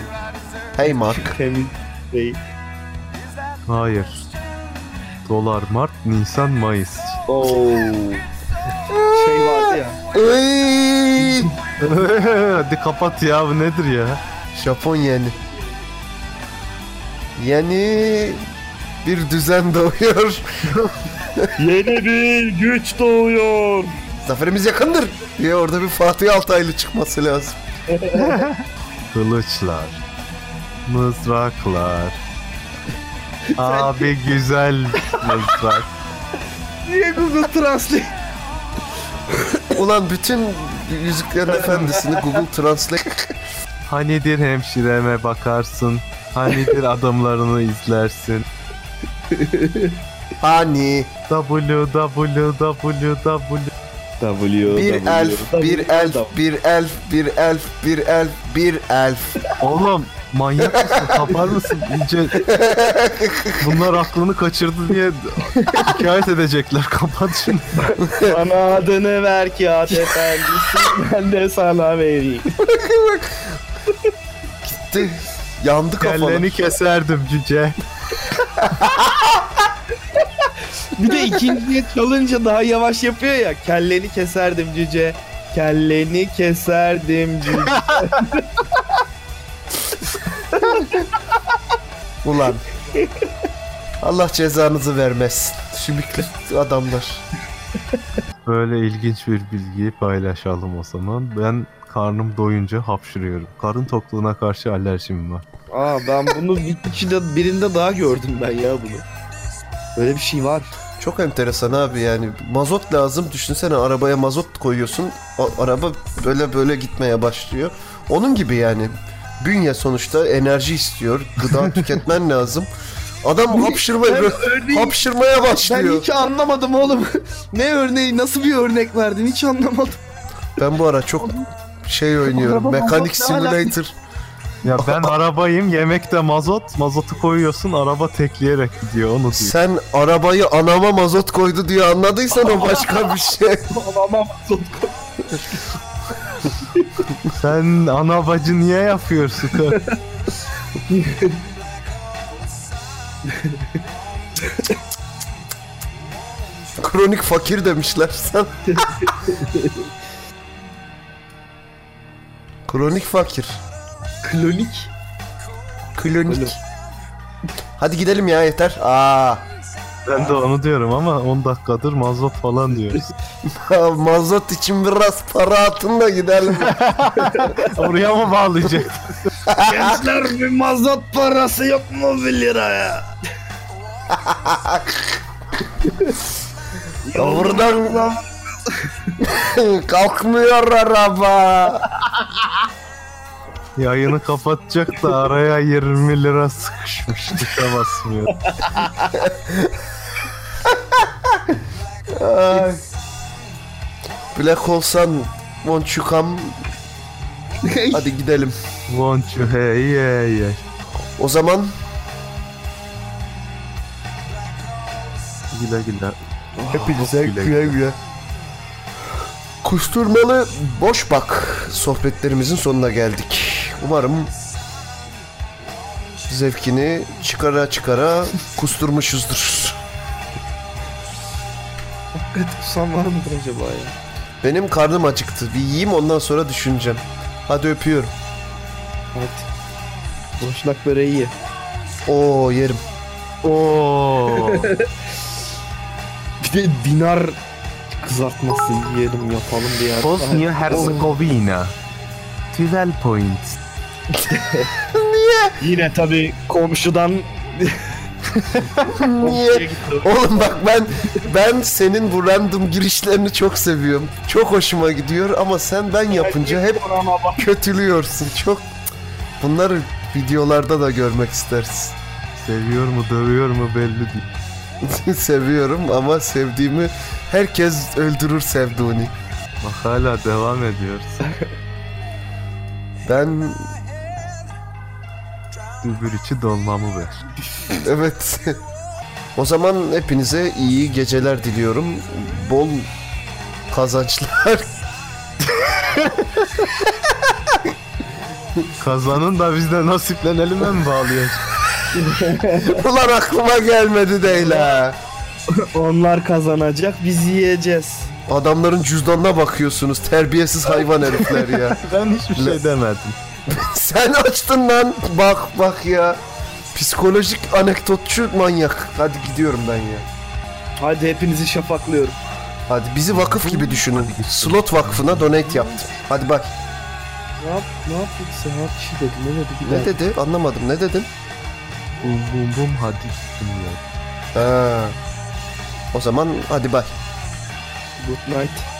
S2: Hey mark.
S3: Temiz şey.
S1: Hayır. Dolar Mart, Nisan, Mayıs.
S3: Oo. şey vardı ya.
S2: Ey!
S1: Hadi kapat ya bu nedir ya?
S2: Japon yeni. Yeni bir düzen doğuyor.
S3: Yeni bir güç doğuyor.
S2: Zaferimiz yakındır diye orada bir Fatih Altaylı çıkması lazım.
S1: Kılıçlar. Mızraklar. Abi güzel mızrak.
S3: Niye Google Translate?
S2: Ulan bütün Yüzüklerin Efendisi'ni Google Translate
S1: Hanidir hemşireme bakarsın. Hanidir adamlarını izlersin.
S2: Hani
S1: www.
S4: W,
S2: bir
S4: W.
S2: elf, bir elf, bir elf, bir elf, bir elf, bir elf.
S1: Oğlum manyak mısın? Kapar mısın? İyice bunlar aklını kaçırdı diye şikayet edecekler. Kapat şunu.
S3: Bana adını ver ki efendisi. ben de sana vereyim.
S2: Tüh, Yandı kafalar.
S1: Kelleni keserdim cüce.
S3: Bir de ikinciye çalınca daha yavaş yapıyor ya. Kelleni keserdim cüce. Kelleni keserdim cüce.
S2: Ulan. Allah cezanızı vermesin. Şümüklü adamlar.
S1: Böyle ilginç bir bilgiyi paylaşalım o zaman. Ben karnım doyunca hapşırıyorum. Karın tokluğuna karşı alerjim var.
S3: Aa ben bunu bir ikide birinde daha gördüm ben ya bunu. Böyle bir şey var.
S2: Çok enteresan abi yani. Mazot lazım. Düşünsene arabaya mazot koyuyorsun. A- araba böyle böyle gitmeye başlıyor. Onun gibi yani. Bünye sonuçta enerji istiyor. Gıda tüketmen lazım. Adam hapşırmaya,
S3: örneği,
S2: hapşırmaya
S3: ben
S2: başlıyor.
S3: hiç anlamadım oğlum. ne örneği nasıl bir örnek verdin hiç anlamadım.
S2: Ben bu ara çok şey oynuyorum.
S3: Araba
S2: Mekanik
S3: mazot ne alaka?
S2: Simulator.
S1: Ya ben arabayım, yemekte mazot. Mazotu koyuyorsun, araba tekleyerek gidiyor onu diyor.
S2: Sen arabayı anama mazot koydu diye anladıysan o başka bir şey.
S3: Babama
S1: Sen ana bacı niye yapıyorsun?
S2: Kronik fakir demişler sen. Kronik fakir.
S3: klonik.
S2: Klonik. Hadi gidelim ya yeter. Aa,
S1: ben de onu diyorum ama 10 dakikadır mazot falan diyoruz.
S2: mazot için biraz para atın da gidelim.
S1: Oraya mı bağlayacak?
S3: Gençler bir mazot parası yok mu 1 liraya?
S2: Ya Buradan kalkmıyor araba.
S1: Yayını kapatacak da araya 20 lira sıkışmış. Dışa basmıyor.
S2: Ay. Black Hole'san won't you come? Hadi gidelim.
S1: Want you hey hey hey.
S2: O zaman
S1: Güle güle.
S2: Hepinize
S1: güle
S2: güle güle. Kusturmalı boş bak sohbetlerimizin sonuna geldik. Umarım zevkini çıkara çıkara kusturmuşuzdur.
S3: Hakikaten kusan var mıdır acaba ya?
S2: Benim karnım acıktı. Bir yiyeyim ondan sonra düşüneceğim. Hadi öpüyorum.
S3: Hadi. Boşnak böreği ye.
S2: Oo yerim.
S1: Oo.
S3: Bir de dinar kızartması yiyelim yapalım bir yer.
S1: Bosnia Herzegovina. 12 points.
S3: Yine tabii komşudan
S2: Niye? Oğlum bak ben ben senin bu random girişlerini çok seviyorum. Çok hoşuma gidiyor ama sen ben yapınca hep kötülüyorsun. Çok bunları videolarda da görmek istersin.
S1: Seviyor mu dövüyor mu belli değil.
S2: Seviyorum ama sevdiğimi herkes öldürür sevdiğini.
S1: Bak hala devam ediyoruz.
S2: Ben
S1: Öbür içi dolmamı ver.
S2: evet. o zaman hepinize iyi geceler diliyorum. Bol kazançlar.
S1: Kazanın da biz de nasiplenelim mi bağlıyor?
S2: Ulan aklıma gelmedi değil ha.
S3: Onlar kazanacak biz yiyeceğiz.
S2: Adamların cüzdanına bakıyorsunuz terbiyesiz hayvan herifler ya.
S1: Ben hiçbir şey demedim.
S2: Sen açtın lan bak bak ya. Psikolojik anekdotçu manyak. Hadi gidiyorum ben ya.
S3: Hadi hepinizi şafaklıyorum.
S2: Hadi bizi vakıf gibi düşünün. Slot vakfına donate yaptım. Hadi bak.
S3: Ne yap? Ne yaptık? Sen ne yaptı şey dedin? Ne dedi? Bir
S2: Ne dedi? Anlamadım. Ne dedin?
S1: Bum bum bum hadi gittim ya.
S2: Ha. O zaman hadi bak.
S3: Good night.